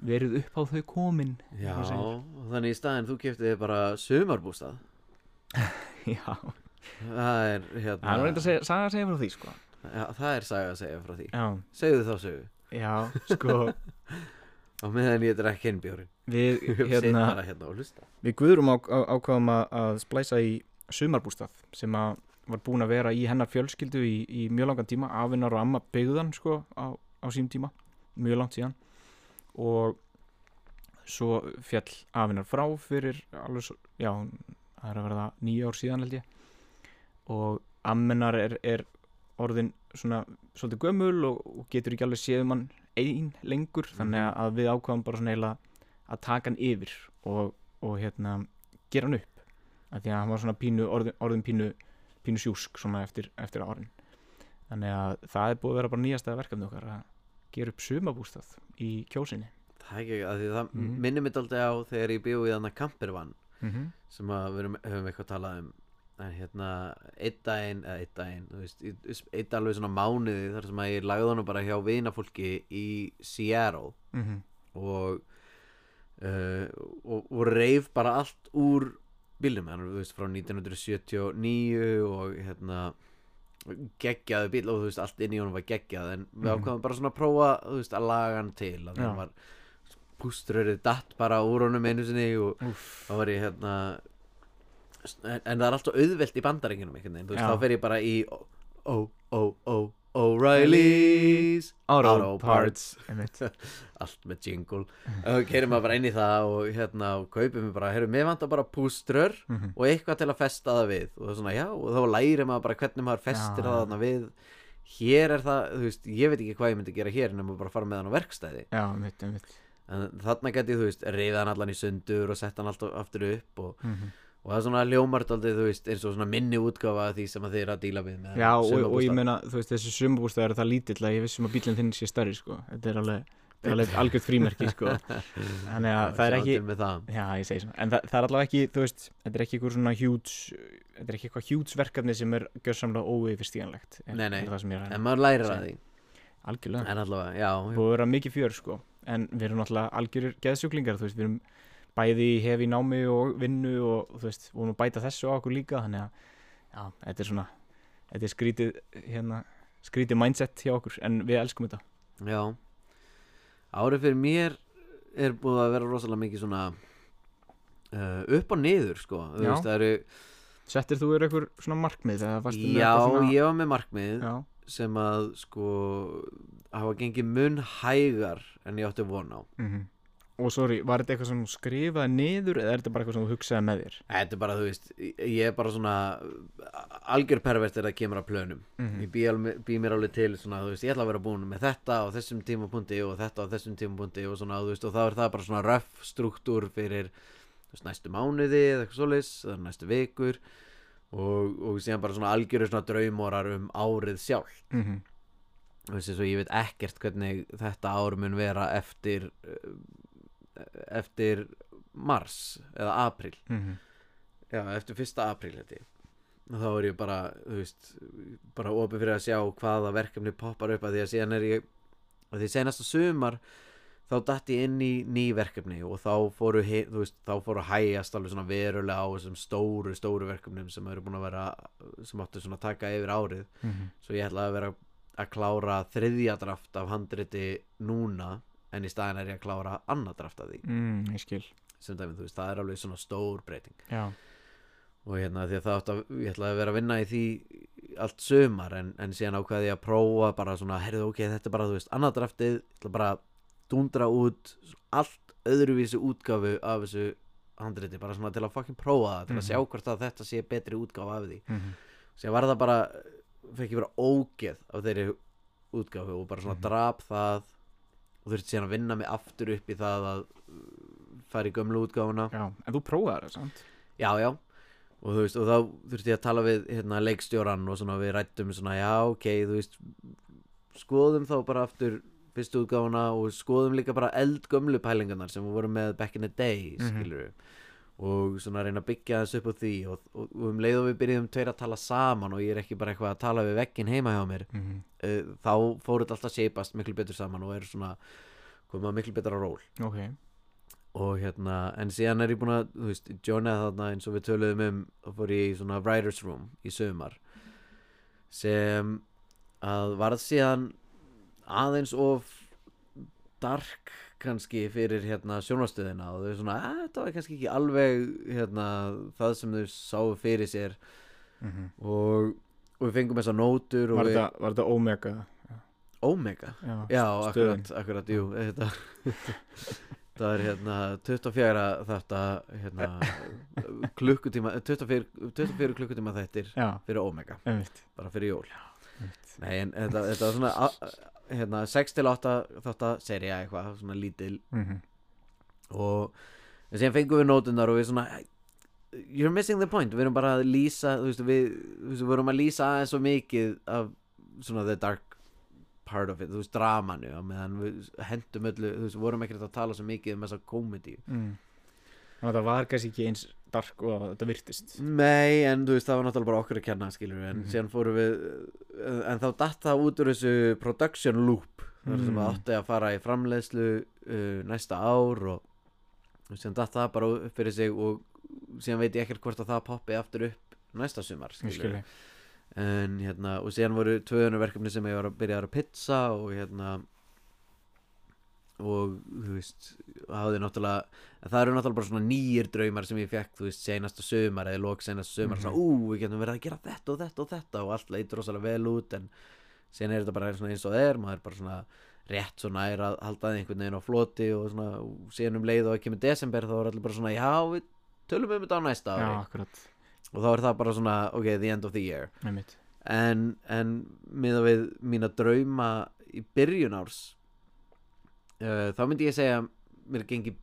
verið upp á þau komin *laughs*
Já,
eins og segir.
þannig í staðin þú kefti bara sumarbústað
Já,
Það er hérna
það er reynda að segja, saga að segja frá því, sko
Já, það er saga að segja frá því
Já,
Segðu þá sögu
já, sko
Og meðan ég drekk hinn bjórin
*laughs* Við,
Sitt
hérna,
bara hérna og hlusta
Við Guðrum á, á, ákvaðum að, að splæsa í sumarbústað sem að var búin að vera í hennar fjölskyldu í, í mjög langan tíma, afinnar og amma byggðan sko á, á sím tíma, mjög langt síðan og svo fjall afinnar frá fyrir alveg svo, já, það er að verða nýja ár síðan held ég og ammenar er, er orðin svona svolítið gömul og, og getur ekki alveg séð mann ein lengur þannig
Mhm.
að við ákvaðum bara svona eiginlega að taka hann yfir og, og hérna gera hann upp af því að hann var svona pínu, orðin, orðin pínu, pínu sjúsk svona eftir, eftir árin þannig að það er búið að vera bara nýjasta verkefni okkar að gera upp sumabústað í kjósinni
Það er ekki að því það
Mhm.
minnir mig daldið á þegar ég bjóði þannig Kampervann
mm -hmm.
sem að við erum, höfum eitthvað talað um en hérna, einn daginn eða einn daginn, þú veist, í- einn alveg svona mánuði þar sem að ég lagði honum bara hjá vinafólki í Seattle og, uh, og, og reif bara allt úr bílum hann er, þú veist, frá 1979 og hérna geggjaði bíl og þú veist, allt inn í honum var geggjað en við
Mhm.
ákvaðum bara svona að prófa þú veist, að laga hann til að
Já.
hann var púströðið datt bara úr honum einu sinni og
Úff,
þá var ég hérna en, en það er alltaf auðvelt í bandarengjunum einhvern veginn, þú veist,
Já.
þá fer ég bara í ó, ó, ó, ó, O'Reilly's
Auto
Parts
einmitt
allt með jingle og keirum maður bara inn í það og hérna og kaupum við bara, heyrðu, mér vantar bara púströr
Mhm.
og eitthvað til að festa það við og það er svona, já, og þá lærir maður bara hvernig maður festir
Já,
það
já.
þarna við hér er það, þú veist, ég veit ekki hvað ég myndi gera hér en maður bara fara með hann á verkstæði
já, einmitt, einmitt
en þarna gæti, ég, þú veist, reyða hann allan í sundur og sett hann alltaf aftur upp og,
mm -hmm.
og það er svona ljómartaldið, þú veist, eins og svona minni útgáfa af því sem að þið er að díla við með
já, og, og ég
sumarbústað.
meina, þú veist, þessi sumabústað er það lítill að ég vissum að bílinn þinn sé stærri sko, þetta er alveg, þetta er alveg algjörð frímerki
*laughs*
sko, þannig
Já,
að það er
sjá
ekki
til með það.
Já, ég segi svona, en það, það er allavega ekki, þú veist, þetta er ekki eitthvað svona hjúts, þetta er ekki eitthvað hjúts verkefni sem er gjörsamlega óeyfirstíganlegt. er-
Nei, nei.
er Það sem ég er
en
að,
maður lærir að því,
algjörlega,
en allavega, já,
búið að vera mikið fjör, sko, en við erum náttúrulega algjörir geðsjúklingar, þú veist, við erum bæði í hefi námi og vinnu og, þú veist, vorum að bæta þessu á okkur líka, þannig að, já, þetta er svona, þetta er skrítið, hérna, skrítið mindset hjá okkur, en við elskum þetta.
Já Árið fyrir mér er búið að vera rosalega mikið svona uh, upp og niður sko Þú
Já.
veist, það eru,
Settir þú þér einhver svona markmið eða varstu með
já,
eitthvað svona...
ég var með markmið
Já,
sem að sko hafa gengið mun hægar en ég átti von á
mhm. Og sorry, var þetta eitthvað sem þú skrifaði niður eða er þetta bara eitthvað sem þú hugsaði með þér?
Þetta er bara, þú veist, ég er bara svona algjör pervert er að kemur að plönum
Mhm.
Ég bý, alveg, bý mér alveg til svona, þú veist, ég ætla að vera búin með þetta á þessum tímapunkti og þetta á þessum tímapunkti og svona, þú veist, og þá er það bara svona röf struktúr fyrir, þú veist, næstu mánuði eða eitthvað svoleiðis, það er næstu vikur og, og síðan bara svona algjöru svona draumorar um árið sjálf
Mm
þú veist, eins og ég veit ekkert hvernig þetta ár mun vera eftir eh, eftir mars eða april
mhm,
Já, eftir fyrsta apríl þetta ég. Og þá er ég bara, þú veist, bara opið fyrir að sjá hvaða verkefni poppar upp að því að síðan er ég, að því senasta sumar þá datt ég inn í ný verkefni og þá fóru, hi- þú veist, þá fóru að hægjast alveg svona verulega á þessum stóru, stóru verkefnum sem eru búin að vera, sem áttu svona að taka yfir árið.
mhm.
Svo ég ætlaði að vera að klára þriðja draft af handriti núna en í staðin er ég að klára annað draft af því.
Mm, ég skil.
Sem dæmi, þú veist, það er alveg svona stór breyting
Já.
og hérna því að það átt að ég ætlaði að vera að vinna í því allt sumar en, en síðan ákvaði ég að prófa bara svona, heyrðu ok, þetta er bara þú veist annað draftið, ég ætla bara að dúndra út allt öðruvísi útgáfu af þessu handriti bara svona til að fucking prófa það, til að
Mhm.
sjá hvort að þetta sé betri útgáfa af því
Mm
síðan var það bara, fekk ég bara ógeð af þeirri útgáfu og bara svona
Mhm.
drap það og þurfti síðan að vinna mig aftur upp í það að uh, fara í gömlu útgáfuna
Já, en þú prófaði það, sant?
já, já og þú veist, og þá þurfti ég að tala við hérna, leikstjóran og svona við rættum svona, já, ok, þú veist skoðum þá bara aftur fyrstu útgáfuna og skoðum líka bara eldgömlu pælingarnar sem við vorum með back in the day,
Mhm.
skilur og svona reyna að byggja þessu upp á því og, og, og um leið og við byrjuðum tveir að tala saman og ég er ekki bara eitthvað að tala við veggin heima hjá mér
Mm -hmm.
uh, þá fóruð alltaf að shapeast miklu betur saman og er svona koma miklu betur á ról
Ok.
og hérna, en síðan er ég búin að þú veist, Jonah þarna eins og við töluðum um og fór ég í svona writer's room í sömar sem að varð síðan aðeins of dark kannski fyrir hérna sjónvastöðina og þau svona, að þetta var kannski ekki alveg hérna það sem þau sáu fyrir sér
Mm
og, og við fengum þessar nótur og
Var,
við,
þetta, var þetta Omega?
Omega
Já.
Já,
stöðin.
akkurat, akkurat, jú þetta, *laughs* Það er hérna 24 þetta hérna,
*laughs*
klukkutíma 24, 24 klukkutíma þettir
Já,
fyrir Omega,
einmitt.
bara fyrir jól
einmitt.
Nei, en þetta, þetta var svona a- a- hérna, 6 til 8 þetta serja eitthvað, svona lítil
Mm
og en síðan fengum við nótunar og við svona you're missing the point, við erum bara að lýsa þú veist, við, þú veist, við erum að lýsa aðeins svo mikið af svona the dark part of it, þú veist, dramanu á meðan við hendum öllu, þú veist, við vorum ekkert að tala svo mikið um þessa komedi
mm. Þannig að það var kannski ekki eins dark og þetta virtist.
Nei, en þú veist, það var náttúrulega bara okkur að kenna skilur, en
Mhm.
síðan fórum við eh, en þá datt það út úr þessu production loop, þar sem
Mm.
það átti að fara í framleiðslu uh, næsta ár og, og síðan datt það bara upp fyrir sig og síðan veit ég ekkert hvort að það poppi aftur upp næsta sumar,
Ég
skilur
skilji.
en hérna, og síðan voru tvöðunar verkefni sem ég var að byrja að pizza og hérna og þú veist hafði náttúrulega, en það eru náttúrulega bara svona nýjir draumar sem ég fekk, þú veist, seinasta sumar eða lók seinasta sumar,
Mhm.
svona ú, við getum verið að gera þetta og þetta og þetta og allt leit rosalega vel út en síðan er þetta bara svona eins og það er, maður er bara svona rétt svona er að halda það einhvern veginn á floti og svona, og síðan um leið og ekki með desember þá er allir bara svona, já, við tölum um þetta á næsta
Já,
ári
akkurat.
og þá er það bara svona, ok, the end of the year
Einmitt.
en, en miða við mína drauma í byrjun árs uh, þá myndi ég segja mér gengi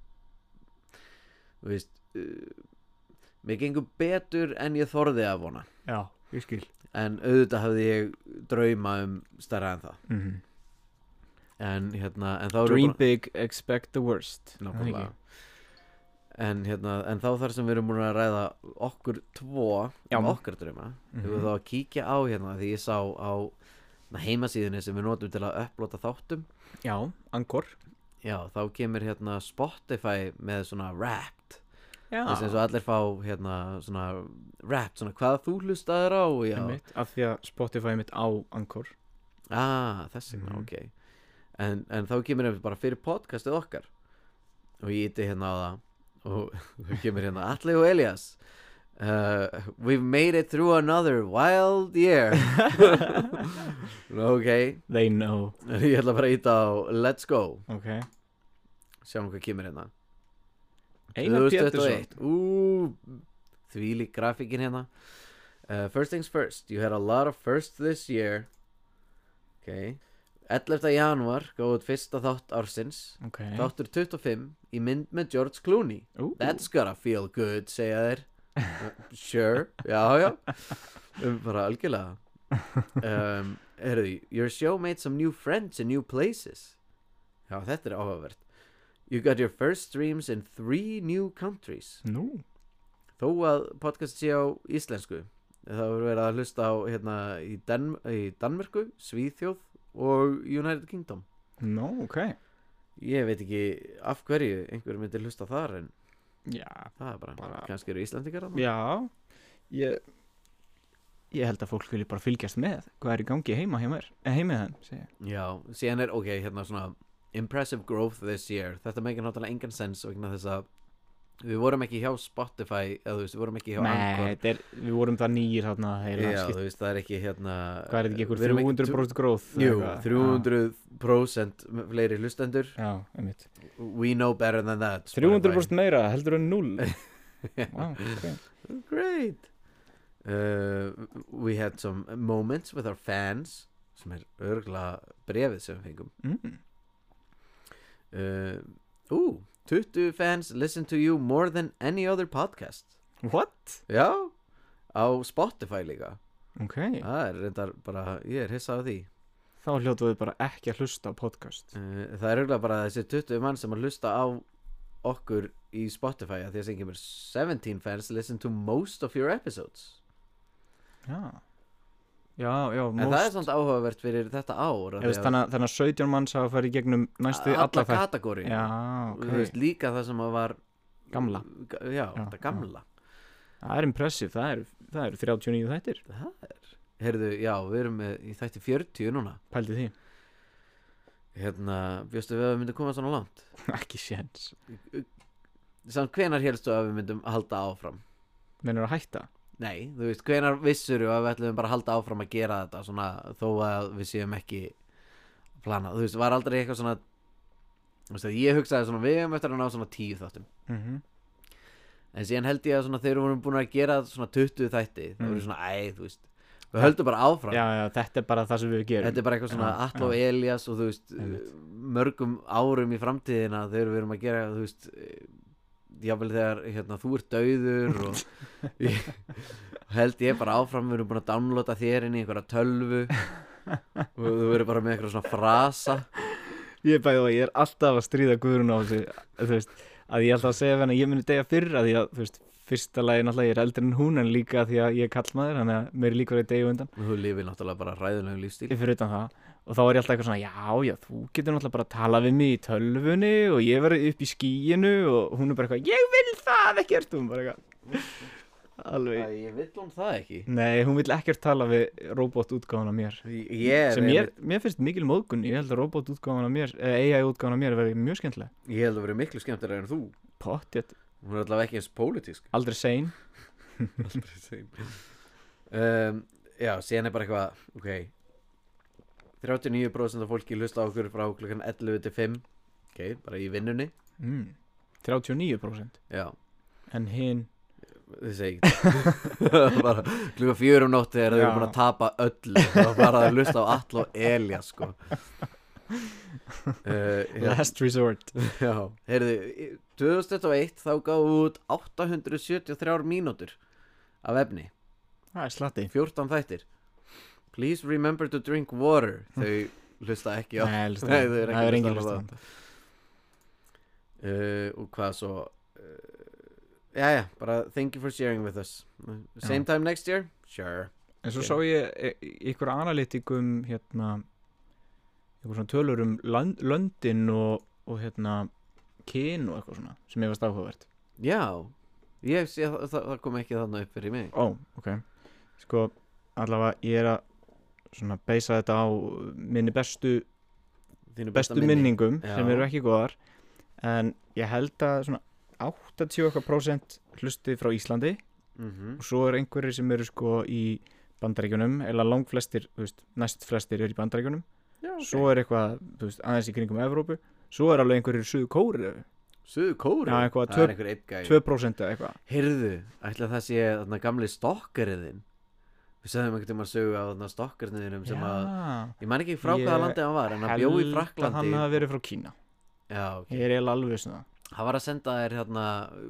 þú veist uh, mér gengur betur en ég þorði að vona
Já, ég skil.
en auðvitað hafði ég drauma um stærra en það
Mm
en hérna en þá erum við
Dream
búin-
big, expect the worst. Er það ekki?
Nákvæmlega. en hérna en þá þar sem við erum búin að ræða okkur tvo
Já.
um okkar drauma
Mhm.
Við vorum þá að kíkja á hérna því ég sá á na, heimasíðunni sem við notum til að upplota þáttum
Já, angor.
Já, þá kemur hérna Spotify með svona Wrapped
Já.
Þess að allir fá hérna svona Wrapped, svona hvað þú hlustaðir á Já,
Einmitt, af því að Spotify mitt á angor.
ah, þess vegna,
Mhm.
ok en, en þá kemur hérna bara fyrir podcastið okkar Og ég íti hérna á það og *laughs* það kemur hérna Atli og Elias uh, We've made it through another
*laughs*
wild year Nú, Ok,
They know
ég ætla bara að íta á Let's go,
Ok
sjáum hvað kemur hérna
Einar Pétursson
2021. Ú, því lík grafíkin hérna uh, First things first, you had a lot of firsts this year Ok 11. januar, góð fyrsta þátt ársins
Ok
Þáttur 25 í mynd með George Clooney
Ú,
That's gotta feel good, segja þeir Uh, Sure, já, já um, Bara algjörlega um, Herðu, your show made some new friends in new places Já, þetta er áhugavert You got your first streams in three new countries
Nú
Þó að podcast sé á íslensku Það voru verið að hlusta á hérna í, Dan í Danmörku, Svíþjóð og United Kingdom
Nú, ok
Ég veit ekki af hverju einhver myndir hlusta þar en
Já
það er bara,
Bara-
kannski eru Íslandingar þarna.
Já Ég Ég held að fólk vilja bara fylgjast með Hvað er í gangi heima hjá mér Eh, Heima hjá þeim, segi ég
Já, síðan er, ok, hérna svona Impressive growth this year Þetta meikir náttúrulega engan sens vegna þess að Við vorum ekki hjá Spotify eða þú veist, við vorum ekki hjá
Nei, þetta er Við vorum það nýjir þarna heila,
Já,
skipt,
þú veist, það er ekki hérna
Hvað er þetta ekki ykkur
við erum
300% gróð
Jú, 300% fleiri hlustendur
Já, einmitt
We know better than that Spotify.
300% meira, heldur en
*laughs*
0 wow, okay.
Great uh, We had some moments with our fans sem er örgla brefið sem við fengum
mm.
uh, Ú, 20 fans listen to you more than any other podcast
What?
Já, á Spotify líka
Ok,
Það er reyndar bara, ég er hissað á því
þá hljótu við bara ekki að hlusta á podcast
uh, Það er auðvitað bara þessi 20 mann sem að hlusta á okkur í Spotify að því að sem kemur 17 fans listen to most of your episodes
Já, já, já
En það er samt áhugavert fyrir þetta ár af
Ég veist,
því
þannig, að- þannig að 17 manns hafa farið í gegnum næstu
alla,
alla þætt
kategóri
Já,
Þú veist
ok,
líka það sem að var
Gamla.
Ga- Já,
Já,
þetta gamla
það er impressive það er, það er 39 þættir,
Það er Herðu, já, við erum með, í þætti 40 núna
pældi því *laughs*
Hérna, bjóstu við að við myndum koma svona langt
Ekki séns
Samt hvenar helstu að við myndum halda áfram
Mennur að hætta
Nei, þú veist, hvenar vissuru að við ætlum bara að halda áfram að gera þetta svona, þó að við séum ekki að plana, þú veist, var aldrei eitthvað svona þú veist, að ég hugsaði svona við um eftir að ná svona tíu þáttum
mm -hmm.
en síðan held ég að svona þegar við vorum búin að gera svona 20 þætti, þá
Mm.
voru svona, æ, þú veist við höldum bara áfram
já, já, þetta er bara það sem við gerum
Þetta er bara eitthvað svona
Já,
Atla og Elias og þú veist eh,
Einmitt.
mörgum árum í framtíðina þegar við erum að gera þú veist eh, jafnvel þegar hérna, þú ert dauður og
*laughs*
ég, held ég bara áfram við erum búin að downloada þér inn í einhverja tölvu
*laughs*
og þú verður bara með eitthvað svona frasa
Ég er bæðið og ég er alltaf að stríða Guðrún á þessu, þú veist, að ég er alltaf að segja við henni að ég muni degja fyrr að því að, þú veist, fyrsta lagi náttúrulega ég er eldri en hún en líka því að ég er kallmaður, þannig að mér er líka verið degja undan,
og þú lifir náttúrulega bara ræðulegum lífstíl
fyrir utan það, og þá er ég alltaf eitthvað svona, já, já, þú getur náttúrulega bara að tala við mig í tölvunni og ég verið upp í skíinu og hún er bara eitthvað, ég vil það ekkert, hún bara eitthvað, alveg,
Ég vill hún það ekki
nei, hún vil ekkert tala við robotútgáfuna mér.
Ég- Ég,
Sem
ég,
mér, mér finnst mikil móðgun, ég held að robotútgáfana mér, eða AI-útgáfana mér verði mjög skemmtilega.
ég held að vera miklu skemmtilega en þú
Pottjett,
hún er allavega ekki eins pólitísk
aldrei sein.
Aldrei sein um, Já, síðan er bara eitthvað Ok 39% af fólki hlusta á okkur frá klukkan 11 til 5 Ok, bara í vinnunni
Mm. 39%
Já,
En hinn
þið segi ekki *laughs* bara, Klukkan 4 um nótti er þau
Já.
eru búin að tapa öllu Það var bara að hlusta á all og elja sko Uh, já,
Last resort
já, heyrðu 2001 þá gáðu út 873 mínútur af efni
Það er slatti
14 þættir Please remember to drink
*laughs*
water Þau hlusta ekki á
Nei, hlusta
*laughs* Nei, þau
ekki.
eru
það er
ekki
engin
að um hlusta á
lista
uh, Og hvað svo uh, Jæja, bara thank you for sharing with us Same time next year? Sure
En svo
Ok.
sá ég e- ykkur analytikum hérna ykkur svona tölur um land, löndin og, og hérna kyn og eitthvað svona sem ég varst áhugavert
Já, ég sé það, það, það kom ekki þannig upp fyrir mig
Ó, ok Sko, allavega ég er að svona beisa þetta á minni bestu
Þínu
bestu minningum
Já.
sem eru ekki góðar en ég held að svona 80 okkar prósent hlustið frá Íslandi
mm -hmm.
og svo er einhverjir sem eru sko í bandaríkjunum eða langflestir, þú veist, næst flestir eru í bandaríkjunum
Já, ok.
svo er eitthvað, þú veist, aðeins í kringum Evrópu svo er alveg einhverjir suðu kóri
Suðu kóru?
Já, eitthvað
Það
tvö-
er einhver einn gæði
2% eða eitthvað
Heyrðu, ætla það sé þarna gamli stokkariðin Við sagðum einhvern tímann sögu á þarna stokkariðinum sem að Ég man ekki frá hvaða
Ég
landi hann var en hann bjó í
hann
Fraklandi
hafi verið frá Kína
Já, ok
ég er eiginlega alveg viss um það
Hann var að senda þér hérna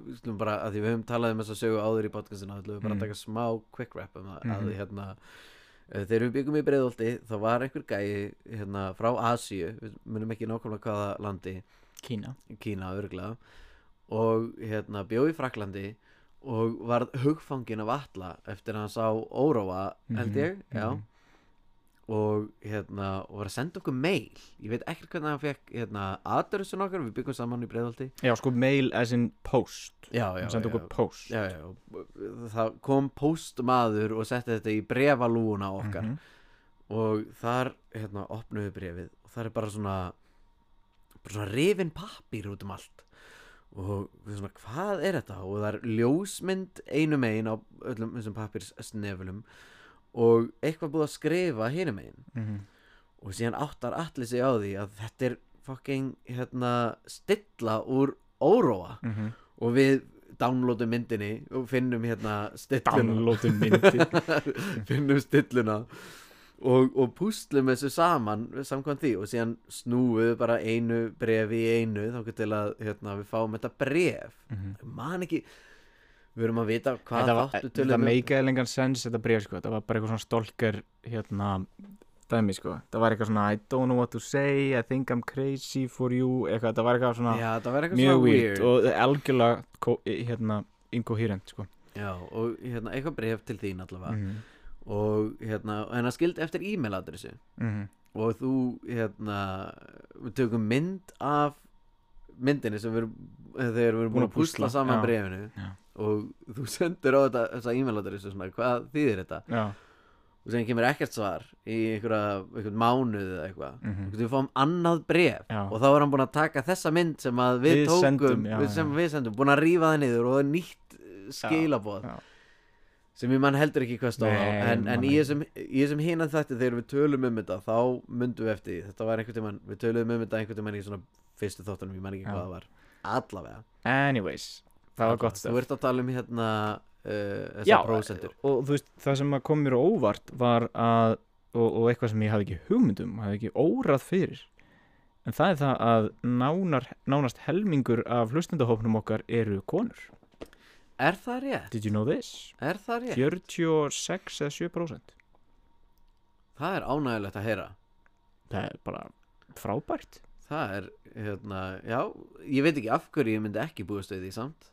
við skulum bara, að Því við höfum talað um þess að sögu áður í podcastinu Þá ætlum við bara
Mm.
að taka smá quick rap um það að,
Mhm.
hérna, eh, Þegar við byggum í Breiðolti Þá var einhver gæi hérna, frá Asíu Við munum ekki nákvæmlega hvaða landi
Kína
Kína örgla og hérna bjó í Fraklandi og varð hugfangin af alla eftir að hann sá óróa held
Mhm,
ég, já
mhm.
og hérna, og var að senda okkur mail ég veit ekkert hvernig hann fekk hérna, adressun okkar, við byggum saman í breiðaldi
já sko mail as in post
já, já,
hann sendi okkur post
já, já, og það kom postmaður og setti þetta í brefalúuna okkar
Mhm.
og þar, hérna, opnum við brefið og þar er bara svona bara svona rifin pappir út um allt og við svona, hvað er þetta? og það er ljósmynd einu megin á öllum þessum pappirsneflum og eitthvað búið að skrifa hinu megin
Mhm.
og síðan áttar allir sig á því að þetta er fucking, hérna, stilla úr óróa
Mhm.
og við downloadum myndinni og finnum hérna stilluna
downloadin myndi
*laughs* finnum stilluna og, og pústlum þessu saman samkvæmt því og síðan snúum við bara einu brefi í einu þá til að hérna, við fáum þetta bref
Mhm.
Ég man ekki við erum að vita hvað
þetta var-
þáttu
þetta
tölum við-
meikaði lengan sens þetta bregð sko þetta var bara eitthvað svona stolker hérna dæmi sko það var eitthvað svona I don't know what to say I think I'm crazy for you eitthvað þetta var eitthvað svona
Já, það var eitthvað
mjög
svona
weird
weird
og algjörlega ko- hérna incoherent sko
Já, og hérna, eitthvað bref til þín allavega
Mhm.
og hérna, en það skildi eftir e-mail adressu
Mhm.
og þú hérna við tökum mynd af myndinni sem við erum þegar við erum búin að púsla saman
já.
brefinu
Já.
og þú sendir á þetta þessa e-mail adressu svona hvað þýðir þetta
já
og sem kemur ekkert svar í einhverja einhvern mánuð eða eitthvað
mhm.
og við fáum annað bref
Já.
og þá er hann búin að taka þessa mynd sem að við,
Við
tókum
sendum, já,
við sem
já.
við sendum, búin að rífa það niður og það er nýtt skilabóð
Já, já.
sem ég mann heldur ekki hvað stóð á
Nei,
en, en
man
í
ekki.
þessum, í þessum hinan þetta þegar við tölum um þetta þá myndum við eftir því. þetta var einhvern tímann, við tölum um þetta einhvern tímann í svona fyrstu þáttunum, ég man ekki
Já.
hvað það var allavega,
anyways það var
Allavega.
gott
þú
stöf
ert að tala um hérna uh, þessar
já
prósendur
og þú veist það sem að kom mér á óvart var að og, og eitthvað sem ég hafði ekki hugmyndum hafði ekki órað fyrir en það er það að nánar, nánast helmingur af hlustendahópnum okkar eru konur
er það rétt?
did you know this?
Er það rétt?
46 eða 7%
Það er ánægilegt að heyra
það er bara frábært
Það er, hérna, já, ég veit ekki af hverju ég myndi ekki búast við því samt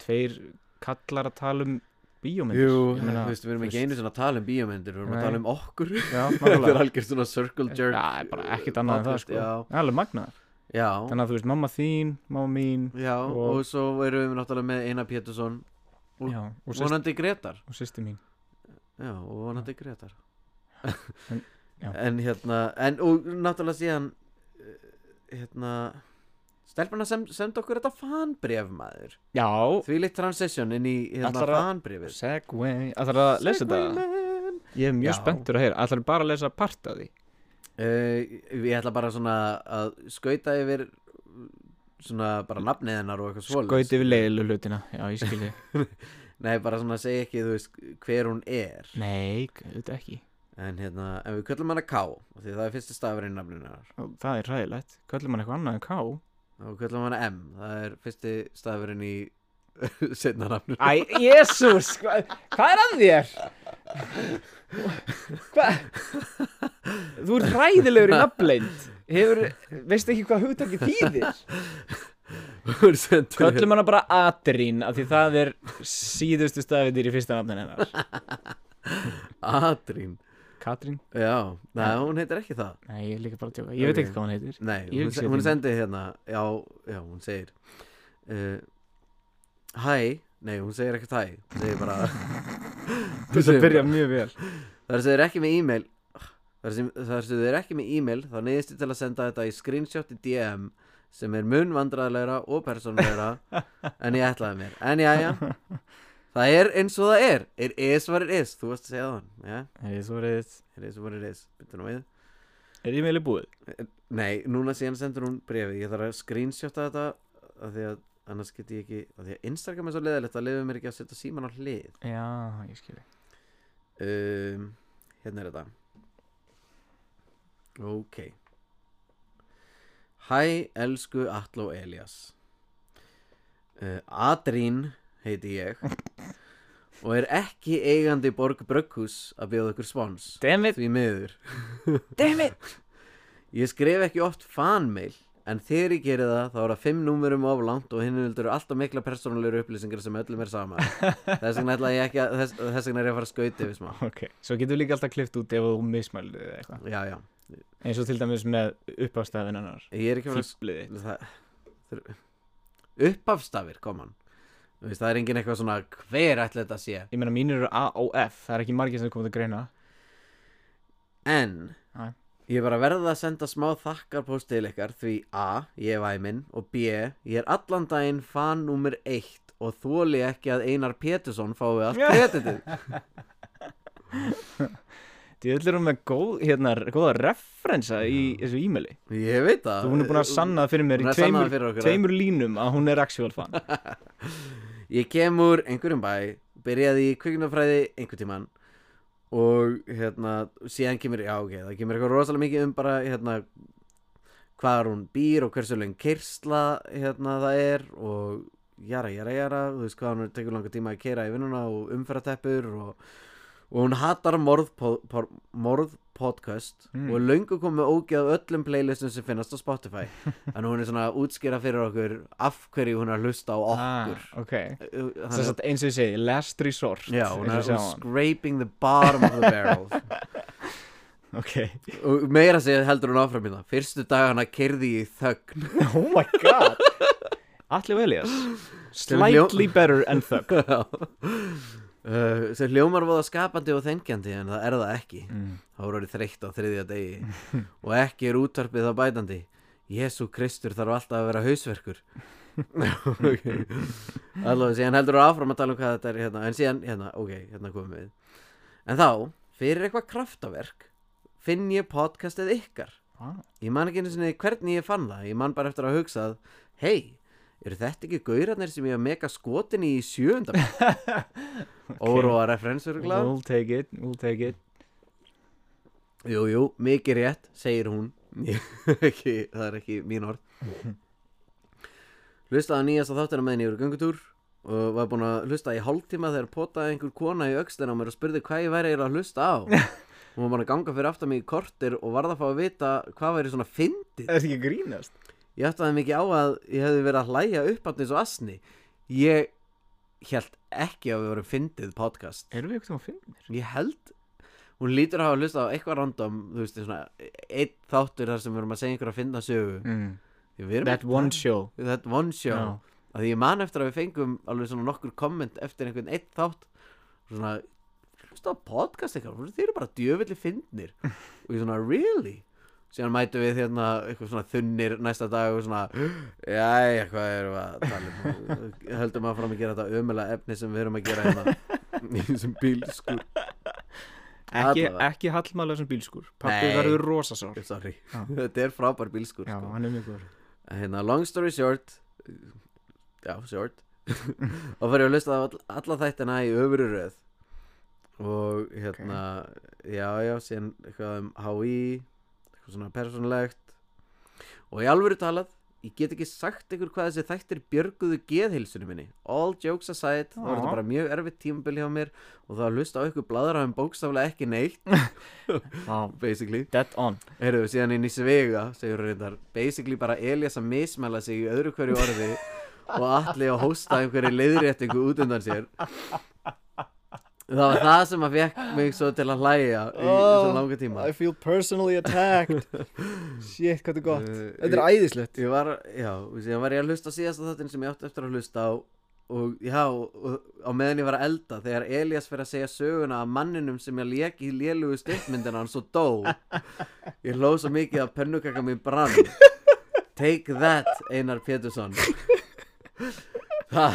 tveir kallar að tala um bíómyndir Ég
þú
meina,
veist, við erum
þú
ekki einu sinna að tala um bíómyndir, við erum
Nei.
að tala um okkur *laughs*
já,
Þetta er
nákvæmlega.
algjör svona circle
Já,
jerk
það er bara ekkert annað en það
podcast,
sko Það er alveg magnað
Já, já,
þannig að þú veist mamma þín, mamma mín
já og,
og-
svo erum við náttúrulega með Einar Pétursson Og-
já, og, sýst,
Vonandi Gretar
og sýsti mín
Já, og vonandi Gretar
En- já.
*laughs* En hérna, en, og náttúrulega síðan eh, Hérna Stelpana sem, senda okkur þetta fanbref maður
já,
Því litt transition inn í hérna
Ætlarðu að-
fanbrefið
segway ætlar að lesa þetta?
Segwayman.
Ég er mjög
Já.
spenntur að heyra, ætlar bara að lesa part af því?
Eh, Ég ætla bara svona að skauta yfir svona bara nafnið hennar og eitthvað svoleiðis
Gauti við leiðilu hlutina, já ég skilji
*laughs* Nei, bara svona að segja ekki, þú veist, hver hún er
Nei, auðvitað ekki
En hérna, en við köllum hana K af Því það er fyrsti stafurinn nafninu hennar
Ó, Það er ræðilegt, kallir mann eitthvað annað en ká
Og við köllum hana M, það er fyrsti stafurinn í *laughs* setna
*laughs*
nafninu
Æ, jésús, hva, hvað er að þér? Hva? Þú er ræðilegur í nafnleind Hefur, veist ekki hvað hugtakið þýðir?
Köllum
Köllum hana bara Adrín af því það er síðustu stafindir í fyrsta nafnin hennar
Adrín
Katrín?
Já, nei, hún heitir ekki það
Nei, ég er líka bara að tjóka, ég veit
Ok.
ekki um- hvað hann heitir
Nei,
Ég
hún,
hugsa
se- hún
þín.
sendi hérna Já, já, hún segir uh, Hæ Nei, hún segir ekkert hæ Hún segir bara
*laughs*
Þú
Þetta
segir
byrja
bara-
mjög vel
Þar sem þau eru ekki með e-mail Þar sem þar sem þau eru ekki með e-mail Þá neyðist þið til að senda þetta í screenshot í DM sem er mun vandræðilegra og
*laughs*
persónulegra en ég ætlaði mér en já, já, það er eins og það er it is what it is, þú varst að segja það yeah,
Hey, svo er þið,
it is what it is, byrja nú við
er ég meðli búið?
Nei, núna síðan sendur hún brefið Ég þarf að screenshota þetta af því að annars get ég ekki af því að Instagram er svo leðalegt að leiðum mér ekki að setja síman á hlið
Já, ég skilji.
um, Hérna er þetta Ok Hæ, elsku Atló Elias uh, Adrín heiti ég og er ekki eigandi Borg Brögghús að bjóða ykkur spons
Damn
því miður
damn it.
Ég skrif ekki oft fanmail en þegar ég geri það þá er það fimm númurum of langt og hinn vildur alltaf mikla persónulegur upplýsingar sem öllum er sama þess vegna ætla ég ekki að þess, þess vegna er ég að fara að skauti við smá
*laughs* Ok, svo getur líka alltaf klift út ef þú mismælið eða eitthvað.
Já, já,
Eins og til dæmis með uppástafinn hennar.
ég er ekki að fara að
Fýbliði.
það, þur- uppafstafir, koman Þú veist, það er engin eitthvað svona hver ætla þetta að sé
Ég meina mínir eru AOF, það er ekki margir sem komið að greina.
en
Nei.
ég er bara að verða að senda smá þakkarpóst til ykkar því a, ég er væminn og b, ég er allan daginn fan nummer 1 og þóli ekki að Einar Pétursson fái allt kreditið
*laughs* Þið ætlir hún með góð, hérna, góða referensa í þessu e-maili.
Ég veit það
Þú hún er búin að sanna það fyrir mér
uh,
í
Hún er að sanna það
tveimur,
fyrir okkur,
tveimur línum að hún er actual fan.
Ég kem úr einhverjum bæ Byrjaði í kviknafræði einhver tíman Og hérna Síðan kemur, já ok, það kemur eitthvað rosalega mikið um bara Hérna Hvar hún býr og hversu lengi kyrsla Hérna það er Og jara, jara, jara, þú veist hvað hún er Tekur langa tíma að keira í vinnuna og umferðateppur Og, og hún hatar morðpo- por- morðpodcast
Mm.
Og er löngu komið ógeð á öllum playlistum sem finnast á
*laughs*
Spotify Þannig hún er svona að útskýra fyrir okkur Af hverju hún er að hlusta á okkur
Ah, ok.
Þannig
Þess að eins og ég segi, last resort.
uh, Já, hún er
eins og ég segi
hún er
á hann.
scraping the bottom of the barrel
Ok.
*laughs*
*laughs*
Og meira segja heldur hún áfram í það Fyrstu dagana kyrði ég í þögn
Oh my god. Atli og Elias. Slightly better and
*laughs*
thug.
uh, Sem hljómar voða skapandi og þengjandi En það er það ekki
Mm.
Það voru orðið þreytt á þriðja degi Og ekki er útvarpið þá bætandi Jésu Kristur þarf alltaf að vera hausverkur *laughs* okay. Allavega síðan heldur hún áfram að tala um hvað þetta er hérna. En síðan, hérna, ok, hérna komum við En þá, fyrir eitthvað kraftaverk Finn ég podcastið ykkar
Ah,
Ég man ekki einu sinni hvernig ég fann það Ég man bara eftir að hugsa að Hei, eru þetta ekki gaurarnir sem ég var mega skotin í í sjöunda bekk?" Óróa referensur glæð
We'll take it, we'll take it.
Jú, jú, mikið rétt, segir hún Ég- *laughs* ekki, Það er ekki mín orð Hlustaði á nýjasta þáttina með henni yfir göngutúr og var búin að hlusta í hálftíma þegar potaði einhver kona í öxlina á mér og spurði hvað ég væri eiginlega að hlusta á Hún var búin að ganga fyrir aftan mig í kortir og varð að fá að vita hvað væri svona fyndið
Er þetta ekki að grínast?
Ég ætlaði mikið á að ég hefði verið að hlæja upp hann eins og asni Ég held ekki að við vorum fyndið podcast
Erum við eitthvað að finna þér?
Ég held Hún lítur að hafa hlusta á eitthvað random Þú veist, svona Eitt þáttur þar sem við erum að segja einhver að finna sögu
Mm.
Ég- við erum
That
ekki-
one show.
That one show no. Því ég man eftir að við fengum alveg svona nokkur komment Eftir einhvern eitt þátt Svona Hlusta á podcast eitthvað Þeir eru bara djöfulli
*laughs*
fyndnir Og ég svona really Síðan mætum við hérna eitthvað svona þunnir næsta dag og svona Jæja, hvað erum við að tala um? Höldum að fram að gera þetta ömulega efni sem við erum að
*laughs*
gera hérna í þessum bílskur
Ekki,
Allavega.
ekki hallmálega sem bílskur. Pappi
Nei.
verður rosasár.
Sorry,
Já.
þetta er frábær bílskur
Já,
sko.
hann er mjög góður.
hérna, Long story short Já, short Og fyrir að hlusta á all, alla þættina í öfru röð Og hérna Já, já, síðan eitthvað um HÍ Eitthvað svona persónulegt Og í alvöru talað Ég get ekki sagt ykkur hvað þessi þættir björguðu geðhilsunum minni All jokes aside Það var
Já.
þetta bara mjög erfitt tímabil hjá mér Og það að hlusta á ykkur bladra um bókstaflega ekki neitt
Já,
Basically
dead on.
Heyrðu, síðan inn í Svega, segir hún reyndar Basically bara Elias að mismæla sig í öðru hverju orði Og allir að hósta einhverju leiðréttingu út undan sér Það var það sem að fekk mig svo til að hlæja Í þessum langa tíma
feel personally *laughs* attacked. Shit, hvað þetta er
Uh,
eh, æðislegt.
Ég var, já, síðan var ég að hlusta á síðasta þáttinn sem ég átti eftir að hlusta á og já, og, á meðan ég var að elda þegar Elias fyrir að segja söguna að manninum sem ég lék í lélugu stuttmyndina hann svo dó ég hló svo mikið að pönnukaka mín brann Take that, Einar Pétursson Þa,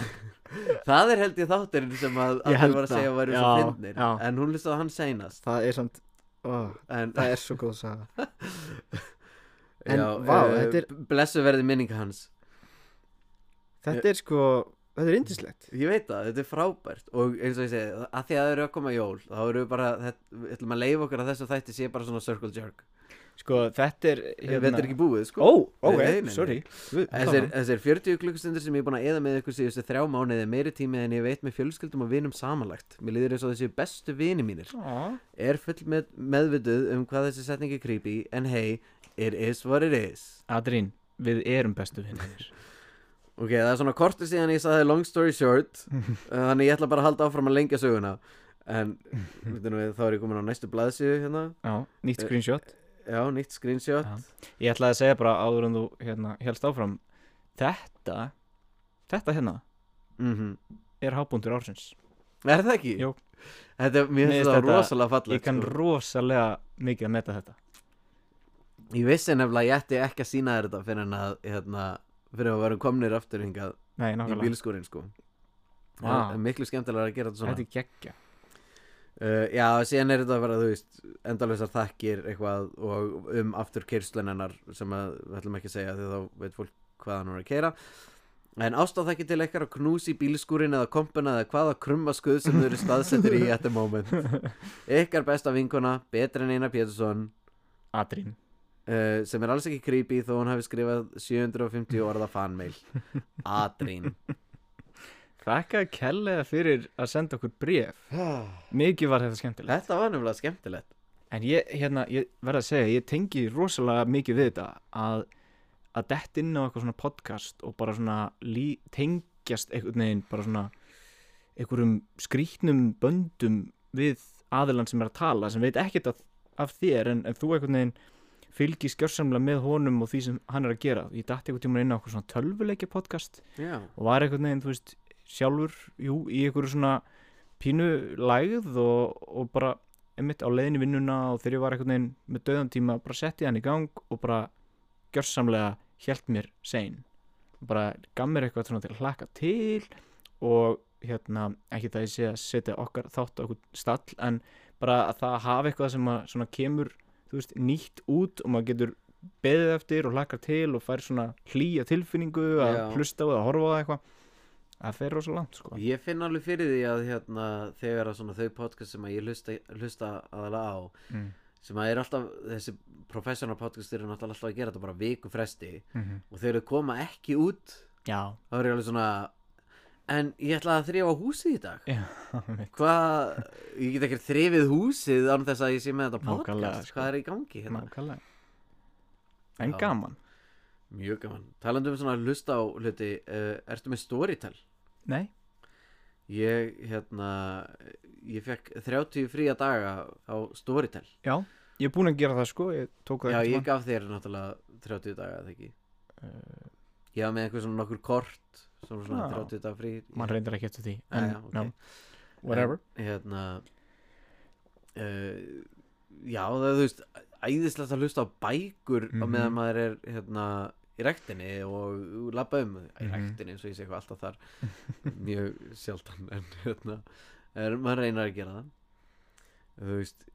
Það er held ég þátturinn sem
Ég
að allir
held
var að
það.
segja að væri svo
Já,
fyndnir
já.
En hún listaði hann seinast
það er samt ó,
En,
það er svo góð saga en
já,
vá,
eh,
þetta er-
Blessuð verði minning hans
þetta er sko, þetta er indislegt
Ég veit það, þetta er frábært og eins og ég segi, að því að það eru að koma jól þá eru við bara, þetta, við ætlum að leifa okkur að þessu þætti sé bara svona circle jerk
sko, þetta er
Þetta er ekki búið, sko
Hérna. ó, ó,
Nei, nei,
eh,
nei.
sorry Guð,
Þessir,
hvað?
þessir 40 klukkustundir sem ég er búin að eða með ykkur síðustu þrjá mánuði er meiri tími en ég veit með fjölskyldum og vinum samanlagt Mér líður eins og þessi bestu vini mínir
Á,
Er full með, meðvituð um hvað þessi setning er creepy En hey, it is what it is
Adrín, við erum bestu vinnir
Ok, það er svona kortið síðan ég sagði long story short Þannig ég ætla bara að halda áfram að lengja söguna En, veitum við, þá er ég komin á næstu blaðsíðu hérna
Já, nýtt
Eh,
screenshot
Já, nýtt screenshot
Já. Ég ætlaði að segja bara áður en þú hérna, helst áfram Þetta, þetta hérna
mm
er hábúndur ársins
Er það ekki?
Jú.
Þetta, mér
Mér
finnst
finnst
það
þetta-
rosalega fallegt
Ég kann
sko.
rosalega mikið að meta þetta
Ég vissi nefnilega að ég ætti ekki að sína þér þetta fyrir en að, hérna, fyrir að vera komnir aftur hingað
Nei,
í
nákvæmlega,
bílskúrin, sko.
Vá.
Það er miklu skemmtilega að gera þetta
þetta
svona.
er geggja
Uh, já, síðan er þetta bara, þú veist, endalösar þakkir eitthvað og um aftur kyrslunennar sem að, við ætlum ekki að segja því þá veit fólk hvað hann er að keira. En ástáþakki til eitthvað að knúsi bílskúrin eða kompuna eða hvaða krummaskuð sem þau eru staðsettir í at the moment. Ykkar besta vinkona, betri en Einar Pétursson,
Adrín
uh, sem er alls ekki creepy þó hún hafi skrifað 750 orða fanmail Adrín
Þakka kellega fyrir að senda okkur bréf Mikið var þetta skemmtilegt
Þetta var nefnilega skemmtilegt
En ég, hérna, ég verð að segja, ég tengi rosalega mikið við þetta að, að dett inn á eitthvað svona podcast og bara svona lí, tengjast einhvern veginn bara svona einhverjum skrýtnum böndum við aðilann sem er að tala sem veit ekkert af, af þér en, en þú einhvern veginn fylgir skjörsamlega með honum og því sem hann er að gera. Ég dætti einhvern tímann inn á eitthvað svona tölvuleikja podcast
Já,
og var einhvern veginn, þú veist, sjálfur jú, í einhverju svona pínu lægð og, og bara einmitt á leiðinni í vinnuna og þegar ég var einhvern veginn með döðan tíma, bara setti hann í gang og bara gjörsamlega hjælt mér sein bara gaf mér eitthvað svona til að hlaka til og hérna ekki það ég sé að setja okkar þátt á okkur stall en bara að það hafa eitthvað sem að svona kemur þú veist, nýtt út og maður getur beðið eftir og hlakar til og fær svona hlýja tilfinningu að
Já.
hlusta á það, að horfa á það eitthvað það fer rosa langt sko
ég finn alveg fyrir því að hérna, þegar að svona þau podcast sem að ég hlusta, hlusta aðalega á
mm.
sem að er alltaf, þessi professional podcast eru náttúrulega alltaf að gera þetta bara viku fresti
Mm -hmm.
og þegar þau koma ekki út
já,
*laughs* þá er ég alveg svona en ég ætla að þrjá húsið í dag
já, einmitt.
Hvað, ég get ekki þrifið húsið án þess að ég sé með þetta podcast
Nákvæmlega, sko.
Hvað er í gangi hérna?
nákvæmlega en
Já.
gaman,
Mjög gaman. Talandi um svona að hlusta á hluti, uh, ertu með Storytel?
nei
Ég, hérna, ég fekk 30 fría daga á Storytel.
já, ég er búin að gera það sko ég tók það
Já,
einhvern
ég gaf þér náttúrulega 30 daga, eða ekki?
tímann. Eh,
Ég var með einhver svona nokkur kort, svona, svona
Já.
30 daga frí.
mann reyndar ekki eftir því en,
já, ok.
no, whatever
En, hérna, uh, já, það er, þú veist, æðislegt að hlusta á bækur á
Mhm.
meðan maður er, hérna, í rektinni og labba um í
Mhm.
rektinni eins og ég sé eitthvað alltaf þar mjög sjaldan en hérna er, maður reynar að gera það þú veist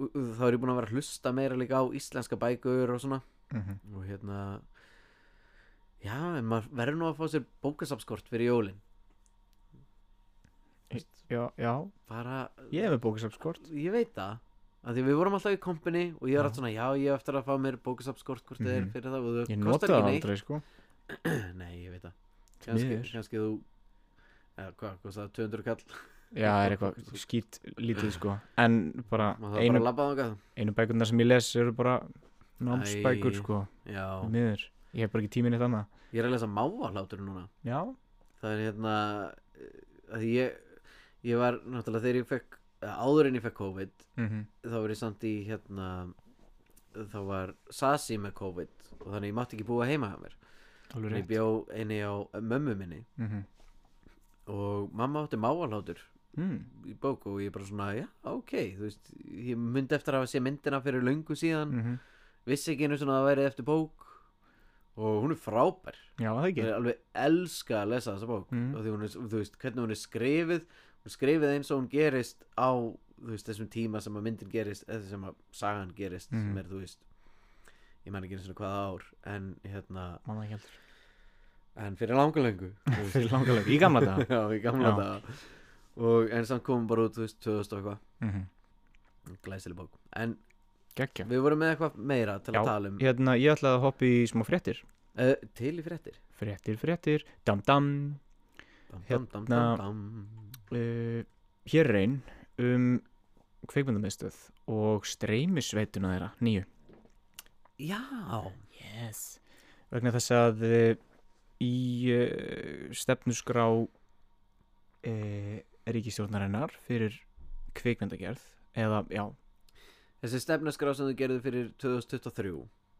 u- u- þá er ég búin að vera að hlusta meira líka á íslenska bækur og svona
mm -hmm.
og hérna já, en maður verður nú að fá sér bókasafskort fyrir jólin
já, já,
bara,
ég hef með bókisafskort
ég veit það að því við vorum alltaf í kompani og ég
Já.
var alltaf svona já, ég á eftir að fá mér bókasafskort hvort þið er
Mhm.
fyrir það og
ég
það
nota það aldrei sko
aldrei *clears throat* nei, ég veit það kannski,
miður.
kannski þú eða hvað, hvað það, 200 kall
já, það er eitthvað skýt lítið sko en bara
maður þarf bara
einu
að labba þangað
einu bækurnar sem ég les eru bara námsbækur
Æ.
sko,
Já,
miður ég hef bara ekki tíminn eitt annað
ég er að lesa mávalátur núna
já,
Það er hérna eh, að ég, ég var náttúrulega þegar ég fekk eh, áður en ég fekk COVID
mm
þá var ég samt í hérna þá var Sasi með COVID og þannig ég mátti ekki búa heima hjá mér
alveg
ég
rétt
bjó einni á eh, mömmu minni
mm -hmm.
og mamma átti mávalátur
mm.
í bók og ég bara svona, já, ok þú veist, ég myndi eftir að hafa sé myndina fyrir löngu síðan
Mm -hmm.
vissi ekki einu svona að það væri eftir bók og hún er frábær
Já, það
ég
ekki
alveg elska að lesa þessa bók
Mhm.
og því hún er, þú veist, hvernig hún er skrifið hún er skrifið eins og hún gerist á þú veist, þessum tíma sem að myndin gerist eða sem að sagan gerist
Mhm.
sem er, þú veist ég man ekki eins og hvaða ár en hérna,
Man það ekki heldur
en fyrir langalöngu
*laughs*
þú veist.
Fyrir langalega Í gamla *laughs* dag
já, í gamla
Já.
daga og en samt komum bara út, þú veist, 2000 og eitthvað
mm
glæsileg bók, en
Gekkja
við vorum með eitthvað meira til
Já,
að tala um
Hérna, ég ætlaði að hoppa í smá fréttir
uh, til í fréttir
Fréttir, fréttir Dam, dam
dam, dam, dam,
Hérna-
dam, dam.
uh, Hér er ein um kveikmyndamiðstöð og streymisveituna þeirra, nýju
já,
Yes. Vegna þess að eh, í uh, stefnusgrá uh, ríkistjórnarinnar fyrir kvikmyndagerð eða, já,
Þessi stefnaskrá sem þú gerði fyrir 2023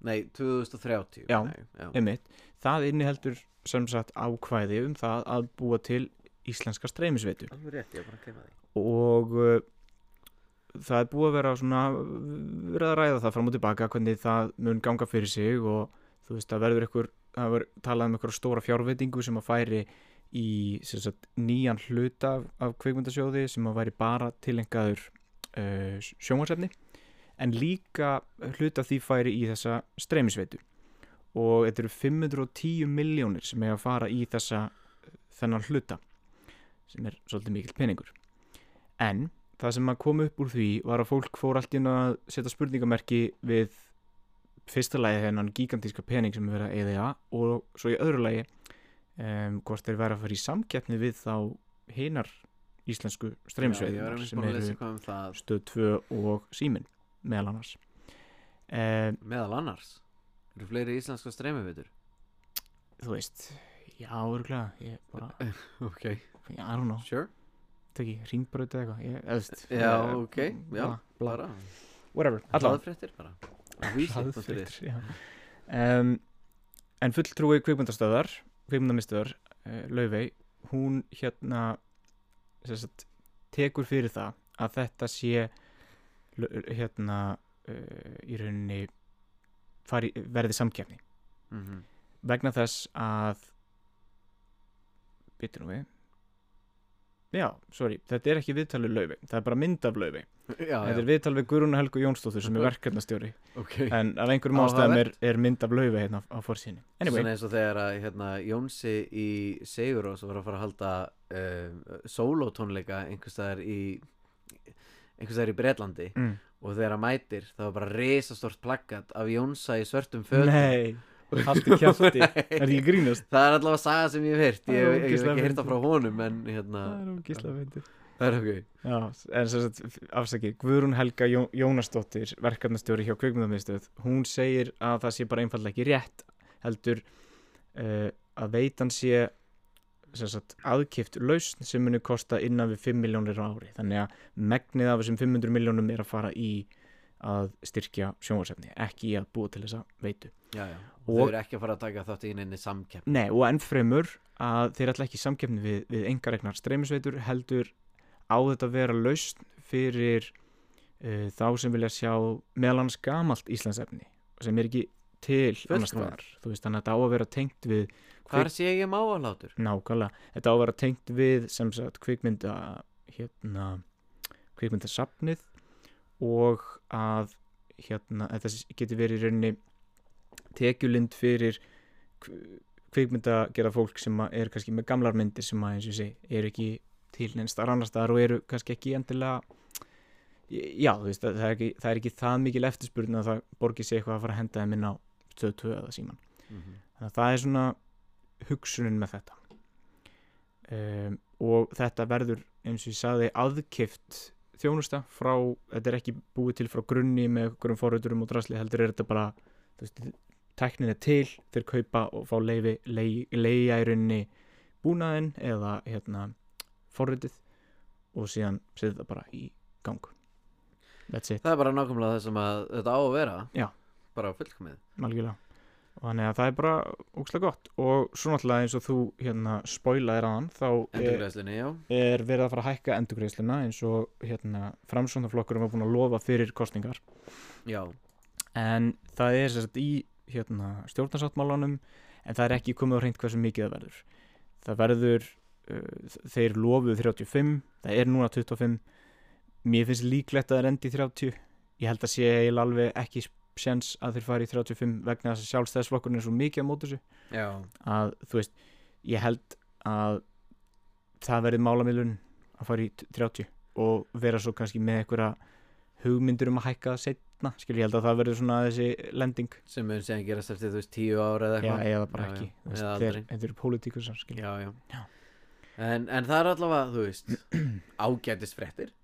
Nei, 2030
Já.
nei, já.
emitt, það inniheldur sem sagt ákvæði um það að búa til íslenska streymisveitu
Alveg rétt, ég var bara að kemja því
og uh, það er búið að vera svona verið að ræða það fram og tilbaka hvernig það mun ganga fyrir sig og þú veist það verður ykkur það verður talað um ykkur stóra fjárveitingu sem að færi í sem sagt, nýjan hluta af, af kvikmyndasjóði sem að væri bara tilengaður uh, sjónvarsefni en líka hluta af því færi í þessa streymisveitu og þetta eru 510 miljónir sem er að fara í þessa þennan hluta sem er svolítið mikill peningur en það sem að kom upp úr því var að fólk fór allt í einu að setja spurningamerki við fyrsta lagi þennan gigantíska pening sem er verið að eða og svo í öðru lagi um, hvort þeir verið að fara í samkeppni við þá hinar íslensku
Já, Ég var
streymisveiðunar
einmitt búin að lesa eitthvað um það
stöð 2 og símin meðal annars e,
Meðal annars Eru fleiri íslenska streymivitur?
þú veist já, örgulega ég bara,
Ok
I don't know
Sure
teki, ringbraut eða eitthvað ég, eða, þú veist,
Já,
eh,
ok, já.
bla, bla,
Bara
whatever, allavega
Hlaðfréttir bara Á Vísi, punktur is.
Hraðfréttir, já. um, en fulltrúi kvikmyndastöðar kvikmyndamistöðar, uh, Laufey hún hérna sem sagt, tekur fyrir það að þetta sé lau- hérna uh, í rauninni fari, verði samkeppni
Mhm.
vegna þess að bitur nú við já, sorry, þetta er ekki viðtal við laufi, það er bara mynd af laufi
Já,
þetta er
já,
viðtal við Guðrún Helgu Jónsdóttur sem er
*laughs*
verkefnastjóri
ok
en af einhverjum ástæðum er,
Áhugavert.
er mynd af laufi hérna á, á fórsýni anyway,
Svona eins og þegar að hérna, Jónsi í Sigurós var að fara að halda uh, sólótónleika einhverstaðar í einhverstaðar í Bretlandi
mm.
og þegar hann mætir það var bara risastort plakkat af Jónsa í svörtum fötum
nei, haltu kjátti
*laughs*
er
Nei.
því að grínast
það er allavega saga sem ég hef heyrt
Það
ég,
er
hef- ég hef
ógeðslega
ekki heyrt það
fyndið.
frá honum en hérna,
það er ógislega veitðu
það er ok
Já, en sem sagt, afsakið, Guðrún Helga Jó, Jónasdóttir, verkefnastjóri hjá kvikmyndamiðstöð, hún segir að það sé bara einfallega ekki rétt heldur uh, að veitan sé sem sagt, aðkipt lausn sem muni kosta innan við 5 miljónir á ári. Þannig að megnið af þessum 500 miljónum er að fara í að styrkja sjónvarsefni, ekki í að búa til þessa veitu.
já, já. Og...
Og-
þau eru ekki að fara að taka þátt í einni samkepp
Nei, og ennfremur að þeir ætla ekki í samkeppni við, við engaregnar streymisveitur heldur á þetta að vera lausn fyrir uh, þá sem vilja sjá meðlans gamalt Íslandsefni sem er ekki til annars
Fullkomið.
staðar. Þú veist, þannig að þetta á að vera tengt við
hvar sé ég máalátur?
nákvæmlega, þetta á að vera tengt við sem sagt kvikmynda hérna, kvikmyndasafnið og að hérna, að þetta getur verið í rauninni tekjulind fyrir kvikmynda gera fólk sem að er kannski með gamlar myndir sem að eins og sé er ekki til neins þar annars þar og eru kannski ekki endilega já, þú veist, það er ekki það, er ekki það mikil eftirspurn að það borgi sig eitthvað að fara að henda þeim inn á 22 eða síman
Mhm.
þannig að það er svona hugsunin með þetta um, og þetta verður eins og ég sagði aðkift þjónusta frá, þetta er ekki búið til frá grunni með einhverjum forriturum og drasli heldur er þetta bara þú veist, teknin er til, þeir kaupa og fá leifi, lei, leia í rauninni búnaðinn eða hérna forritið og síðan setja þetta bara í gang that's it,
það er bara nákvæmlega það sem að þetta á að vera
Já.
bara fullkomið
algjörlega og þannig að það er bara ógslag gott og svo náttúrulega eins og þú hérna spoilaðir að hann þá er,
endurgræslinni, já
er verið að fara að hækka endurgreiðsluna eins og hérna framsóndaflokkurum var búin að lofa fyrir kostningar
já,
en það er sérst í hérna, stjórnarsáttmálanum en það er ekki komið á hreint hversu mikið það verður það verður uh, þeir lofuðu 35 það er núna 25 mér finnst líklegt að það er endi í 30 ég held að sé eiginlega alveg ekki sens að þeir fari í 35 vegna þess að sjálfstæðisflokkurinn er svo mikið á mótu þessu
já,
að þú veist, ég held að það verði málamiðlun að fara í t- 30 og vera svo kannski með einhverja hugmyndur um að hækka setna skil ég held að það verður svona þessi lending
sem mun segja gerast eftir þú veist tíu ára eða
já,
eitthvað
eða bara
Já,
ekki
já.
þú veist,
Eða
þeir,
aldrei.
þeir eru pólitíkusar skil
já, já.
Já.
En, en það er allavega, þú veist, *clears throat* ágætis fréttir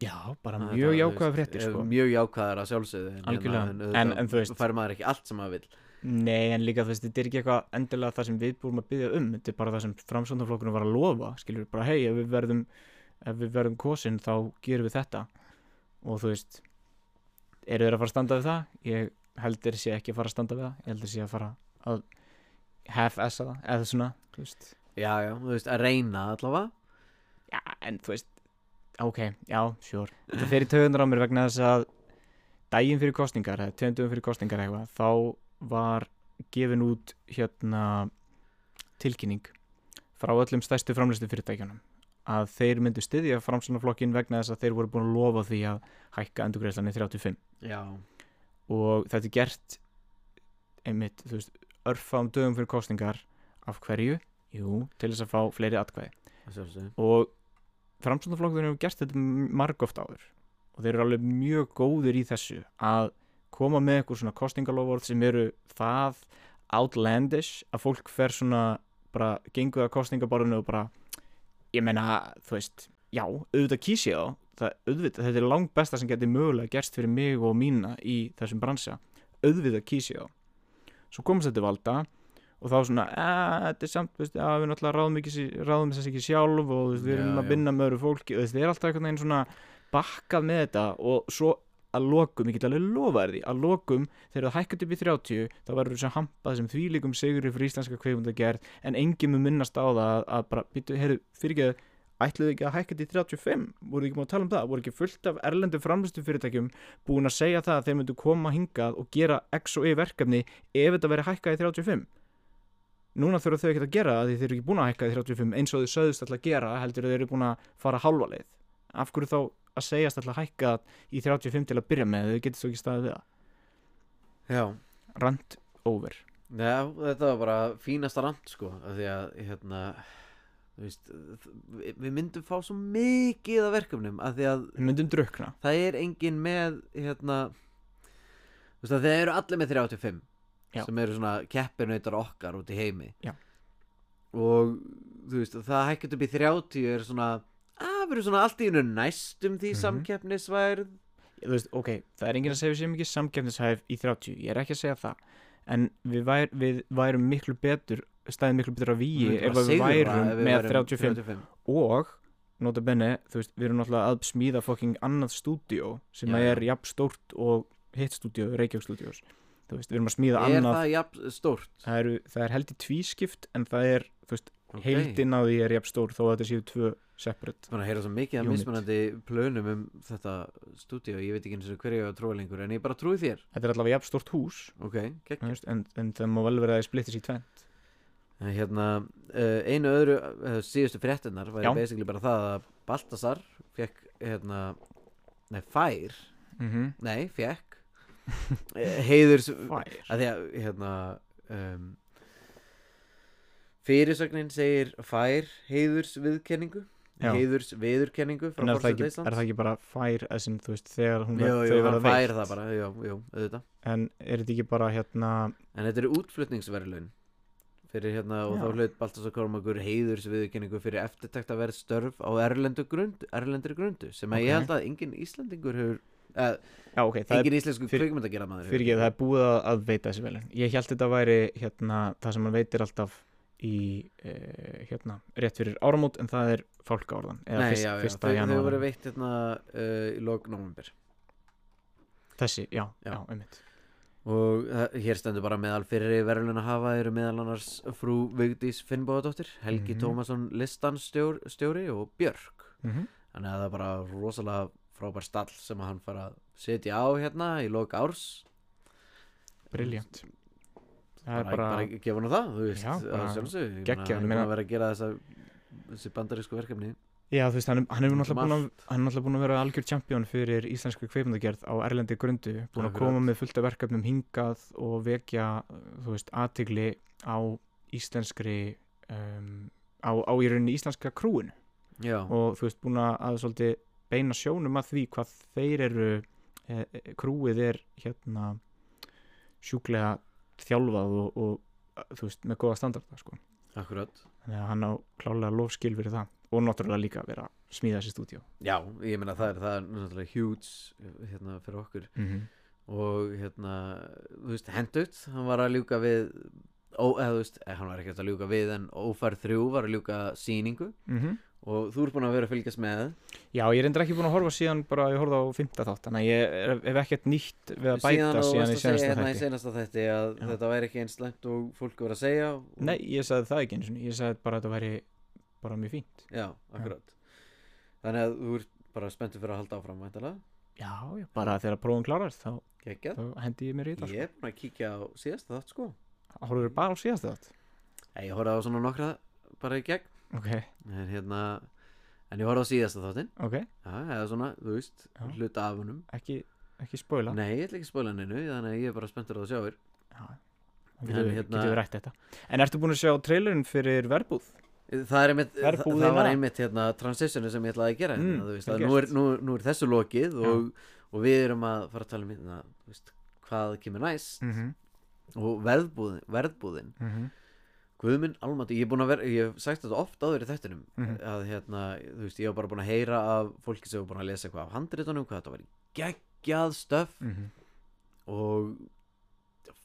já, bara
Þetta,
mjög
þú
jákvæða
veist,
fréttir
eh,
sko.
Mjög jákvæðar að sjálfsögðu en,
Algjörlega.
hérna,
En-
auðvitað
en þú veist-
Fær maður ekki allt sem maður vill
nei, en líka þú veist, þetta er ekki eitthvað endilega það sem við búum að byggja um þetta er bara það sem framsóndaflokkurinn var að lofa skilur bara, hei, ef við verðum ef við verðum kosin, þá gerum við þetta og þú veist eru þeir að fara að standa við það? ég held þeir sé ekki að fara að standa við það ég held þeir sé að fara að half-essa það, eða svona þú veist.
Já, já, þú veist, að reyna allavega
já, en þú veist ok, já, sure þetta fer í töðunar á mér vegna þess að daginn fyrir kostningar, eða töðundum fyrir kostningar eitthvað, þá var gefin út hérna tilkynning frá öllum stærstu framlistu fyrirtækjunum að þeir myndu styðja framsunaflokkin vegna þess að þeir voru búin að lofa því að hækka endurgreislanir 35
Já,
og þetta er gert einmitt, þú veist, örfam dögum fyrir kostningar af hverju, jú, til þess að fá fleiri atkvæði
að sjálfsögðu
og framsöndaflokkurinn hefur gert þetta margóft áður og þeir eru alveg mjög góðir í þessu að koma með eitthvað svona kostningalofórð sem eru það outlandish að fólk fer svona bara gengur að kostningaborðinu og bara ég meina, þú veist, já, auðvitað kýs ég þá, það, auðvitað, þetta er langt besta sem geti mögulega gerst fyrir mig og mína í þessum bransa, auðvitað kýs ég þá. Svo komst þetta til valda og þá svona, "Eh, þetta er samt, veist, að við náttúrulega ráðum, ekki, sí- ráðum þess ekki sjálf og þú veist, við erum
Já,
að
já.
vinna með öðru fólki og þetta er alltaf einhvern veginn svona bakkað með þetta og svo að lokum, ég get alveg lofaði því, að lokum þegar það hækkut upp í 30 þá verður þessu hampað sem þvílíkum sigri fyrir íslenska kveifunda en enginn mun minnast á það að, að bara, býtu, heyrðu, fyrirgeðu ætluðu ekki að hækka til 35 voru ekki búin að tala um það, voru ekki fullt af erlendu framlustu fyrirtækjum búin að segja það að þeir myndu koma hingað og gera X og Y verkefni ef þetta verið hækkað í 35 núna þurfa þau ekki að gera það því þeir eru ekki búin að hækka í 35 eins og þau sögðust alltaf að gera heldur að þeir eru búin að fara hálfa leið af hverju þá að segjast alltaf að hækka í 35 til að byrja með þau getur þó ekki staðið við
Já,
það rand over
Já, þetta var bara fínasta rand sko, af því að hérna, þú veist, við- við myndum fá svo mikið af verkefnum af því að
við myndum drukna
það er engin með hérna, þú veist að þeir eru allir með 35
Já.
sem eru svona keppinautar okkar út í heimi
Já.
og þú veist það hækkið upp í 30 er svona að verður svona allt í hennu næstum því
Mhm.
samkeppnisværð
þú veist, ok, það er enginn að segja við séum ekki samkefnishæf í 30, ég er ekki að segja það en við, vær, við værum miklu betur stæðum miklu betur að víi
myndum
ef
bara
að við
sigra
værum
ef við
með
værum
35 og nota bene, þú veist, við erum náttúrulega að smíða fokking annað stúdíó sem
Já,
að
já.
er jafn stórt og hitt stúdíó, Reykjavík stúdíós þú veist, við erum að smíða
Er
annað það,
það jafn stórt?
eru, það er held í tvískipt en það er, þú veist,
Ok.
heildin á því er jafn stór þó að þetta séu tvö separate
búin að heyra svo mikið af
Unit.
mismunandi plönum um þetta stúdíu ég veit ekki eins og hverju ég á að trúa lengur en ég bara trúi þér
þetta er allavega jafn stórt hús
ok,
þú
geggjum
veist, en, en það má vel vera að það splittis í tvent
en hérna, uh, einu öðru uh, síðustu fréttinnar væri
Já.
basically bara það að Baltasar fekk hérna, nei fær
mm
nei, fekk
*laughs*
eh, heiðurs
Fær
að því að hérna um, fyrirsögnin segir fær heiðurs viðkenningu
Já.
heiðurs viðurkenningu frá
En er það,
forseta
ekki,
Íslands
er það ekki bara fær as in, þú veist, þegar hún
Jú,
ver- þau
jú, hann
verða
fær
veitt?
það bara, jú, jú, auðvitað
En er þetta ekki bara hérna
En þetta eru útflutningsverðlaun fyrir hérna og
Já.
þá hlaut Baltasar Kormakur heiðurs viðurkenningu fyrir eftirtækt að verð störf á erlendu grund, erlendri grundu sem að
Ok.
ég held að engin Íslandingur hefur uh,
Já, ok, það er
engin íslensku
fyrir-
kveikmynd að gera maður
fyrir ekki, það er búið að, að veita þessi velin Ég held þetta væri hérna það sem hann veitir alltaf í eh, hérna, rétt fyrir áramót en það er fálkaorðan eða
Nei,
fyrst,
já, já,
fyrsta
þau, þau voru
janúar
veitt hérna uh, í lok november
Þessi, já,
Já.
já, einmitt
og uh, hér stendur bara meðal fyrir verðlun að hafa eru meðal annars frú Vigdís Finnbóðadóttir Helgi
Mhm.
Tómasson listanstjóri stjóri og Björk
mm
Þannig að það er bara rosalega frábær stall sem að hann fara að setja á hérna í lok árs
Briljant það er
bara,
bara,
bara gefa hann það þú veist,
Já, bara
að sjálfsög ég
geggjað,
meina, hann er búin
meina-
að vera að gera þessa þessi bandarísku verkefni
já þú veist hann, hann hefur
Út um
náttúrulega búin að hann er náttúrulega búin að vera algjör champion fyrir íslensku kveipmundagerð á erlendi grundu búin að
Akkurat.
koma með fullt af verkefnum hingað og vekja þú veist aðtigli á íslenskri um, á, á í rauninni íslenska krúin
já,
og þú veist búin að, að svolítið beina sjónum að því hvað þeir eru e, e, krúið er hérna sjúklega þjálfað og, og þú veist með góða standarda sko
akkurat
þannig að hann á klálega lofskil fyrir það og náttúrulega líka að vera að smíða þessi stúdíó
já, ég meina það er, það er náttúrulega huge hérna fyrir okkur og hérna, þú veist, hendut hann var að ljúka við ó, eða þú veist, eh, hann var ekkert að ljúka við en ófærð þrjú var að ljúka sýningu og þú ert búin að vera að fylgjast með
Já, ég er reyndar ekki búin að horfa síðan bara að ég horfði á fymta þátt þannig að ég er, hef ekkert nýtt við að bæta
og
síðan,
varst
í
að segja
senasta
hérna í
þætti
senasta þætti að
Já.
þetta væri ekki eins slæmt og fólk voru að segja og,
Nei, ég sagði það ekki eins og ég sagði bara að þetta væri bara mjög fínt
já, akkurat þannig að þú ert bara spenntur fyrir að halda áfram væntalega,
Já, já, bara þegar prófum klarar þá,
geggjað
þá hendi ég mér í þetta
ég er búin að kíkja á síðasta þátt sko
yeah. Horfður bara á síðasta þátt
Nei, ég horfði á svona nokkra bara í gegn
Ok,
en hérna, en ég horfði á síðasta þáttin
ok,
já, eða svona, þú veist,
Já.
hluta af honum
ekki, ekki spoila
Nei, ég ætla ekki að spóla hann einu, þannig að ég er bara spenntur að það sjáir.
Já, þá getum
En
við-
hérna-
getum við rætt þetta En ertu búin að sjá trailerinn fyrir verbúð?
Það, er einmitt,
Það er
það,
búið
það var
lag.
einmitt hérna, transitionu sem ég ætlaði að gera
Mm,
hérna, þú veist,
vel
að nú, er,
gert.
nú, nú er þessu lokið og, og við erum að fara að tala um hérna, þú veist, hvað kemur næst
Mm -hmm.
og verðbúðin, verðbúðin. Guðminn almati, ég, er búinn að vera, ég hef sagt þetta oft áður í þettinum
Mhm.
að hérna, þú veist, ég hef bara búin að heyra af fólki sem hef búin að lesa eitthvað af handritunum hvað þetta var geggjað stöf
Mm.
og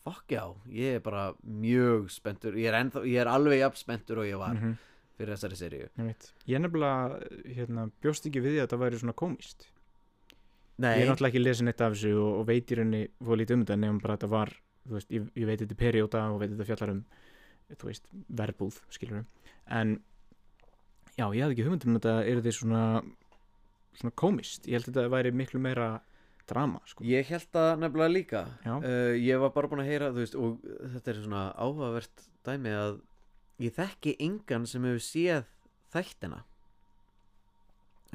fuck já, ég er bara mjög spenntur, ég er, ennþá, ég er alveg jafn spenntur og ég var fyrir þessari seríu
Mm. Ég veit, Mhm, ég nefnilega hérna, bjóst ekki við því að það væri svona komist Ég
Nei,
er náttúrulega ekki lesin eitt af þessu og, og veit í rauninni fóða lítið um þetta nefnum bara að þetta var þú veist, ég, ég veit þetta er perióta og veit þetta fjallar um þú veist, verbúð, skilur en já, ég hafði ekki hugmynd um þetta er þetta svona svona komist, ég held að þetta væri miklu meira drama, sko
ég held það nefnilega líka
Já.
uh, Ég var bara búin að heyra, þú veist, og þetta er svona áhugavert dæmi að ég þekki engan sem hefur séð þættina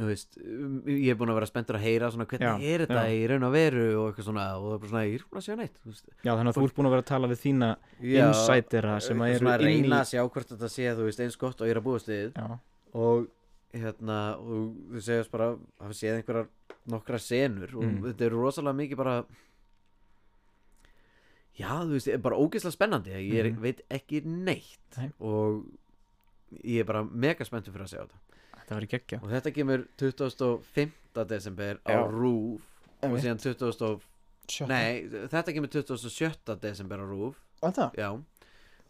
Þú veist, um, ég er búin að vera spenntur að heyra svona hvernig
Já,
er þetta
já.
í raun og veru og eitthvað svona og það er bara svona, ég er búin að sjá neitt þú veist.
Já, þannig að þú ert búin að vera að tala við þína
Já,
insidera sem að
eitthvað
eru
svona
inn í
reyna að sjá hvort þetta sé, þú veist, eins gott og ég er að búast við
Já,
og hérna og þú segjast bara hafa séð einhverjar nokkra senur og
Mm.
þetta er rosalega mikið bara já þú veist er bara ógeðslega spennandi ég er,
Mhm.
veit ekki neitt
Nei.
og ég er bara mega spenntur fyrir að segja þetta
þetta væri geggja
og þetta kemur 25. desember á
Já.
RÚF og
Einmitt.
síðan 20. og- nei þetta kemur 27. desember á RÚF
Þetta?
já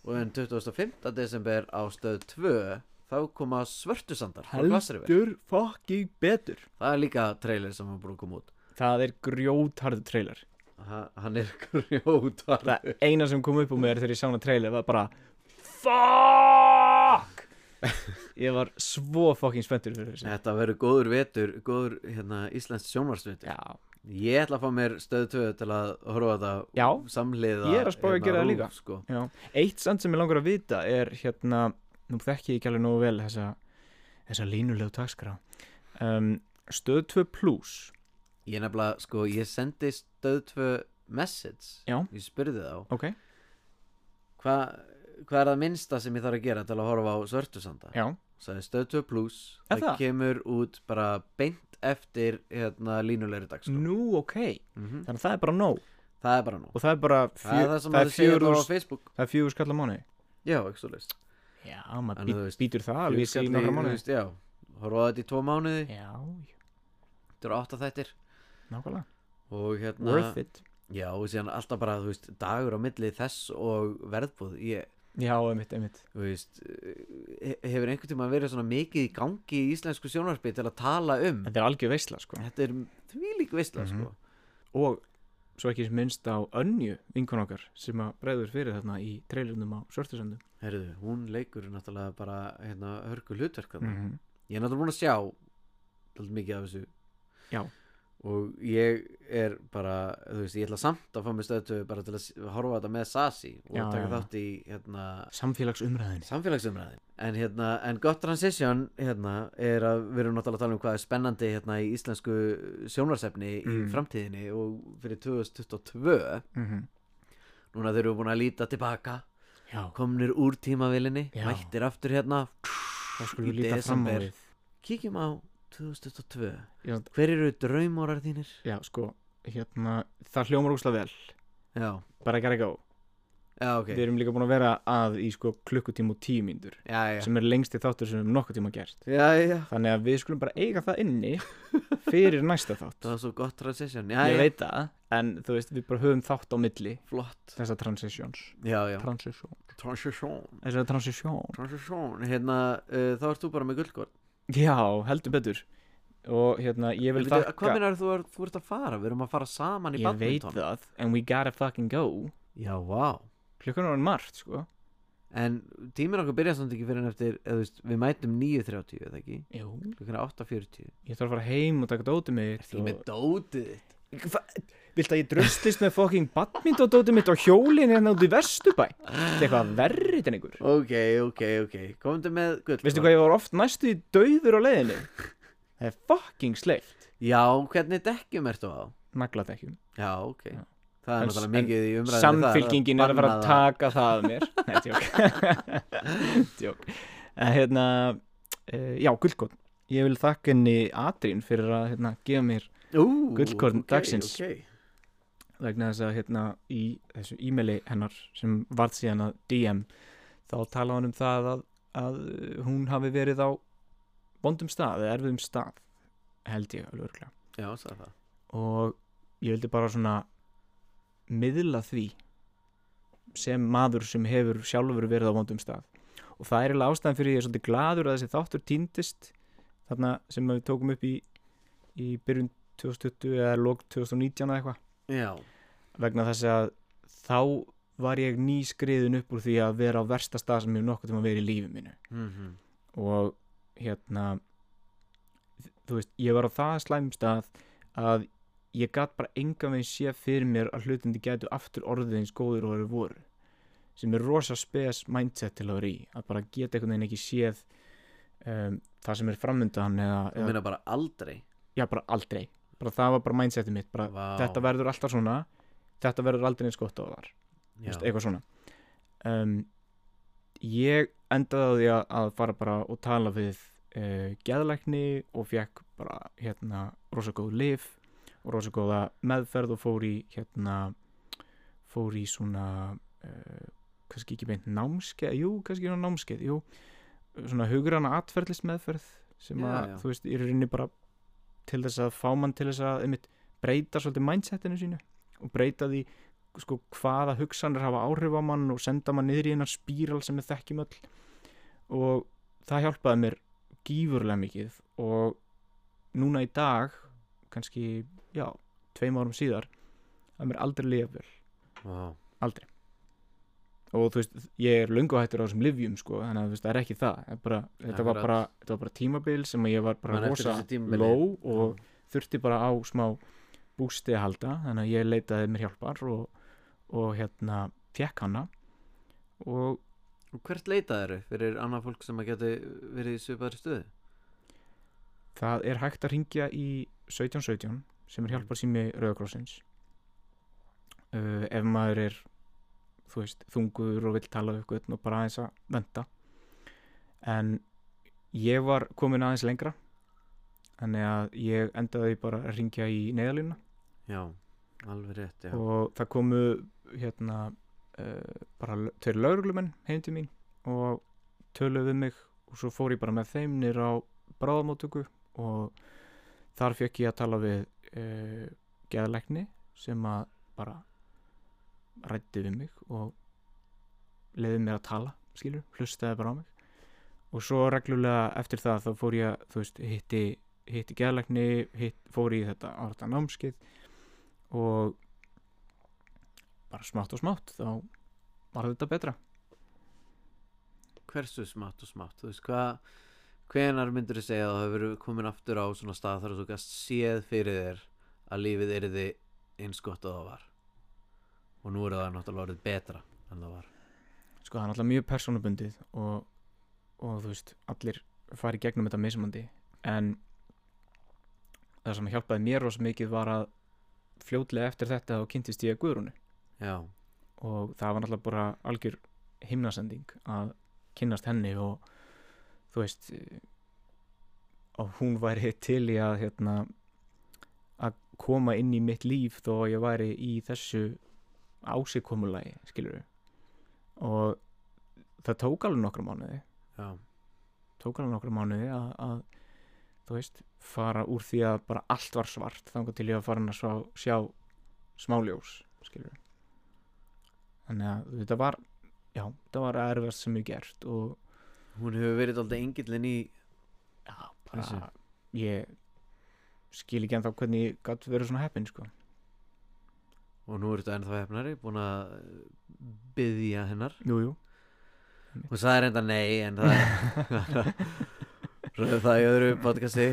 og en 25. desember á stöð 2 þá koma svörtusandar frá Glasseriver.
Heldur fucking betur
Það er líka trailer sem hann búin að koma út
Það er grjótarðu trailer
ha, Hann er *laughs* grjótar
Það eina sem kom upp úr mér þegar ég sá hana trailer var bara Fuck *laughs* Ég var svo fucking spenntur fyrir þessu
Þetta verður góður vetur Góður hérna, Íslands sjónvarsvetur
Já,
Ég ætla að fá mér stöð 2 til að horfa á þetta
Já.
Samliða
Ég er að spá í að gera það
RÚV,
líka.
sko.
já Eitt samt sem ég langar að vita er hérna Nú þekki ég ekki alveg nógu vel þessa Þessa línulegu takskrá um, Stöð 2 Plus
Ég er nefnilega, sko, ég sendi stöð 2 message
Já.
Ég spurði þá
Ok,
Hvað hva er það minnsta sem ég þarf að gera til að horfa á svörtusanda?
já
Sæði stöð 2 plus
Er
Það
það?
kemur út bara beint eftir hérna, línulegri dag sko.
Nú, ok
mm
Þannig að það er bara nóg
Það er bara nú
Og það er bara
Það er það sem maður segir
fjögur
þá á
þús-
Facebook
Það er fjögur skall á mánu
Já, ekki svo leist
Já,
En
maður
þú
bít,
veist,
býtur það alveg í nokkra mánu Já,
Já, horfaðu á þetta í tvo mánuði
já,
Þetta eru átta þættir
nákvæmlega
Og hérna
Worth it
Já, og síðan alltaf bara, þú veist, dagur á milli þess og verðbúð Ég,
Já, einmitt, einmitt
þú veist, eh, hefur einhvern tímann verið svona mikið í gangi í íslensku sjónvarpi til að tala um
Þetta er algjör veisla, sko
Þetta er því lík veistla,
Mhm.
sko
og svo ekki minnst á önju vinkun okkar sem að bregður fyrir þarna í trailernum á Svörtusöndum
Herðu, hún leikur náttúrulega bara, hérna, hörku hlutverk þarna
-hmm.
Ég er náttúrulega búin að sjá Alltaf mikið af þessu
Já.
og ég er bara þú veist, ég ætla samt að fá mér stöðtöfu bara til að s- horfa á þetta með Sasi og
Já,
taka
já, já.
þátt í hérna,
samfélagsumræðinni
samfélagsumræðin en, hérna, en gott transition hérna, er að við erum náttúrulega að tala um hvað er spennandi hérna, í íslensku sjónarsefni
Mm.
í framtíðinni og fyrir 2022
mm
núna þau eru búin að líta tilbaka
já,
komnir úr tímavilinni,
Já.
mættir aftur hérna
þá skulum
í
við líta fram á
desember.
við
kíkjum á 2022
Já,
hver eru draumórar þínir?
já, sko, hérna það hljómar úrslega vel,
já,
bara gotta go
já ok
við erum líka búin að vera að í sko klukkutíma og tíu mínútur
já, já.
sem er lengsti þáttur sem við erum nokkuð tíma gert
já, já,
þannig að við skulum bara eiga það inni fyrir næsta þátt *laughs*
það var svo gott transition já,
ég
já,
veit það en þú veist við bara höfum þátt á milli
flott
þessa transitions
já, já.
transition
transition
þessa transition
transition, hérna, uh, þá ert þú bara með gullgóð
já heldur betur og hérna ég vil þakka
hvað minnar þú, er, þú ert að fara, við erum að fara saman í
ég veit
badminton
það and we gotta fucking go
já, vá
klukkan er orðin margt sko
en tíminn okkar byrja samt ekki fyrir en eftir eða, þú veist, við mætum 9.30 eða ekki
Jú.
klukkan er 8.40
ég þarf að fara heim og taka dótið mitt
því með dótið þitt
vilt að ég dröstist með fucking badmint og dótið mitt á hjólinn hérna út í vestubæ þetta er eitthvað verrið en ykkur
ok, ok, ok, komdu með gullgóð
veistu hvað ég var oft næstu í dauður á leiðinu það er fucking sleift
já, hvernig dekkjum ertu á
nagladekkjum
já, ok
Já.
það er
En-
náttúrulega
en
mikið í umræðinu
samfylkingin er að fara að taka það af mér Nei, tjók *laughs* tjók en hérna uh, já, gullkorn ég vil þakka henni Adrín fyrir að hérna, gefa mér
Ú,
Gullkorn
ok,
dagsins.
ok.
vegna þess að hérna í þessu e-maili hennar sem varð síðan að DM þá talaði hann um það að, að eh, hún hafi verið á vondum stað eða erfiðum stað held ég alveg örglega
Já, sagði það
og ég vildi bara svona miðla því sem maður sem hefur sjálfur verið á vondum stað og það er eiginlega ástæðan fyrir ég er svolítið gladur að þessi þáttur týndist þarna sem við tókum upp í, í byrjun 2020 eða lók 2019 eða eitthvað
Já,
vegna þess að þá var ég nýskriðin upp úr því að vera á versta stað sem ég hef nokkuð tíma verið í lífi mínu
mm
og hérna þú veist, ég var á það slæmum stað að ég gat bara enga veginn sé fyrir mér að hlutindi gætu aftur orðið eins góður og eru voru sem er rosa spes mindset til að vera í að bara geta einhvern veginn ekki séð um, það sem er framöndan eða,
þú
eða
meina bara aldrei
já bara aldrei, bara það var bara mindsetið mitt bara,
Vá.
þetta verður alltaf svona þetta verður aldrei eins gott og það var Þú
Já,
veist, eitthvað svona um, ég endaði á því að, að fara bara og tala við uh, geðlækni og fekk bara hérna rosa góð lif og rosa góða meðferð og fór í hérna fór í svona uh, kannski ekki beint námskeið jú, kannski svona námskeið, jú svona hugurana atferðlist meðferð sem
Já,
að,
já.
þú veist, ég er bara til þess að fá mann til þess að einmitt, breyta svolítið mindsetinu sínu og breyta því sko, hvaða hugsanir hafa áhrif á mann og senda mann niður í einar spíral sem við þekkjum öll og það hjálpaði mér gífurlega mikið og núna í dag kannski, já, tveim árum síðar að mér aldrei lifa vel
Vá.
og þú veist, ég er löngu hættur á þessum livjum sko, þannig að þú veist, það er ekki það Það er bara, þetta, var
Akkurat.
bara, þetta var bara tímabil sem að ég var bara
Man eftir
rosa
þessu tímabili.
low og þurfti bara á smá bústi að halda, þannig að ég leitaði mér hjálpar og, og hérna fekk hana og
Og hvert leitað eru fyrir annað fólk sem að geti verið í svipaðri stöðu?
það er hægt að ringja í 1717 sem er hjálpar sími Rauðakrossins uh, ef maður er þú veist, þungur og vill tala við ykkur og bara aðeins að venda en ég var komin aðeins lengra þannig að ég endaði bara að ringja í neðalínu
Já, alveg rétt, já
og það komu hérna uh, bara l- tveir lauruglumenn heim til mín og töluðu við mig og svo fór ég bara með þeim nýr á bráðamóttöku og þar fekk ég að tala við uh, geðleikni sem að bara rætti við mig og leiði mér að tala skilur, hlustaði bara á mig og svo reglulega eftir það þá fór ég að, þú veist, hitti hitti geðleikni, hitt, fór í þetta á þetta námskeið og bara smátt og smátt þá var þetta betra
Hversu smátt og smátt, þú veist hvað Hvenar myndur þú segja að þú hefur verið komin aftur á svona stað þar að þú gæst séð fyrir þér að lífið yrði eins gott og það var og nú er það náttúrulega orðið betra en það var
sko það er náttúrulega mjög persónubundið og, og þú veist allir fari í gegnum þetta mismandi en það sem hjálpaði mér rosa mikið var að fljótlega eftir þetta þá kynntist ég Guðrúnu
já,
og það var náttúrulega bara algjör himnasending að kynnast henni og þú veist eh, að hún væri til í að hérna að koma inn í mitt líf þó að ég væri í þessu ásikomulagi, skilur og það tók alveg nokkra mánuði
já,
tók alveg nokkra mánuði að, að þú veist, fara úr því að bara allt var svart þangar til ég var farin að sjá, sjá smáljós, skilur þannig að þetta var já, þetta var erfast sem ég gert og
hún hefur verið alltaf engillin í
já, bara
Þessi.
ég skil ekki en þá hvernig ég gætt verið svona heppin, sko
og nú er þetta ennþá hefnari búin að byðja hennar
jú, *laughs* jú,
hún sagði reynda nei en það
*laughs*
röðu það í öðru podcasti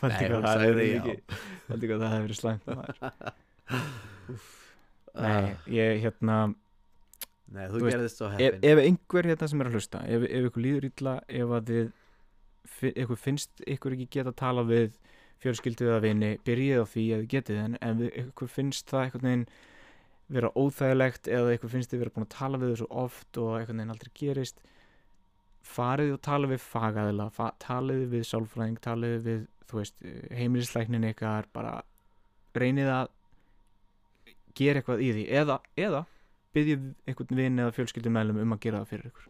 Valdi
hún
hvað það hefur
sagði já.
ekki Valdi hvað það hefur verið slæmt maður. sko.
Ah,
Nei, ég hérna
nei,
þú
þú
veist,
gerðist svo
ef,
heppin
ef einhver hérna sem er að hlusta ef, ef ykkur líður illa ef að þið fi- ykkur finnst ykkur ekki geta að tala við fjölskyldu eða vini byrjið á því ef þið getið en ef ykkur finnst það einhvern veginn vera óþægilegt eða ykkur finnst þið vera búin að tala við þessu oft og einhvern veginn aldrei gerist farið og tala við fagaðila fa talið við sálfræðing, talið við þú veist, heimilislæknin ykkar bara reynið að gera eitthvað í því eða, eða byrjið einhvern vinn eða fjölskyldumælum um að gera það fyrir ykkur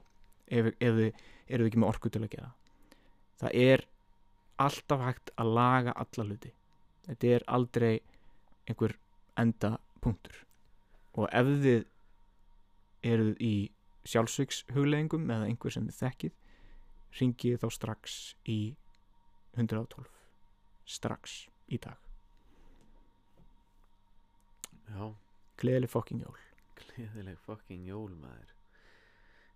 ef, ef þið eruð ekki með orku til að gera það. það er alltaf hægt að laga alla hluti þetta er aldrei einhver enda punktur og ef þið eruð í sjálfsvíks hugleðingum eða einhver sem þið þekkið ringið þá strax í 112 strax í dag
já
gleðileg fokking jól
Gleðileg fucking jól maður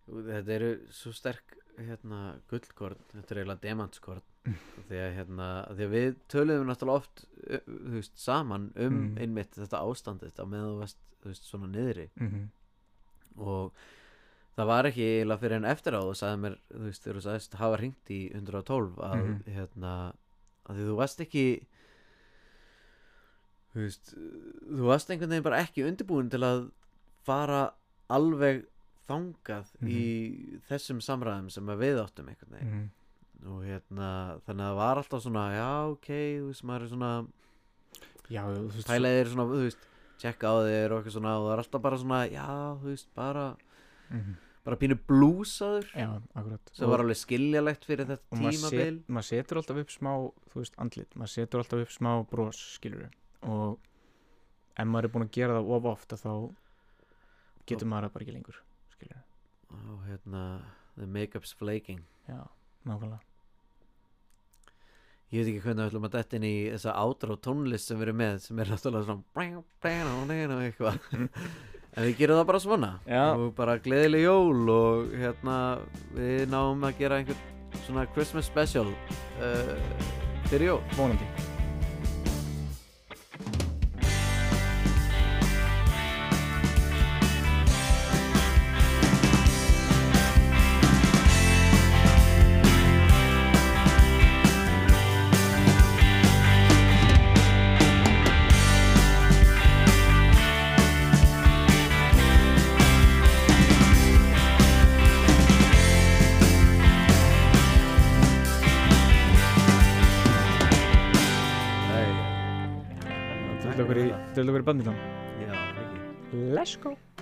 Jú, Þetta eru svo sterk hérna gullkorn, þetta eru eiginlega demantskorn því að hérna því að við töluðum náttúrulega oft ö, þú veist, saman um
Mm.
einmitt þetta ástand þetta með þú veist, þú veist svona niðri
mm
og það var ekki eiginlega fyrir en eftir á þú sagði mér, þú veist, þegar þú sagðist hafa hringt í 112 að
Mhm.
hérna, að því þú varst ekki þú veist þú varst einhvern veginn bara ekki undirbúin til að fara alveg þangað
Mhm.
í þessum samræðum sem að við áttum einhvern veginn
-hmm.
og hérna, þannig að það var alltaf svona já, ok, þú veist, maður er svona
já, þú veist
pælaðið er svona, þú veist tjekka á þér og eitthvað svona og það er alltaf bara svona, já, þú veist, bara
Mhm.
bara pínu blúsaður
já, akkurat
sem var alveg skiljalegt fyrir þetta
og maður
tímabil
set, mað setur alltaf upp smá þú veist, andlit, maður setur alltaf upp smá bros skilur og ef maður er búin að gera það of ofta þá getur maður það bara ekki lengur skilur
og hérna the makeup's flaking
já, nákvæmlega
ég veit ekki hvernig við ætlum að detta inn í þessa átrá tónlist sem við erum með sem er náttúrulega svona brang, brang, og neina og eitthvað *laughs* en við gerum það bara svona
Já.
og bara gleðileg jól og hérna við náum að gera einhvern svona Christmas special uh, fyrir jól
vonandi
Nei.
Drullu okkur í, drullu okkur í bandinum
Já, ekki
Let's go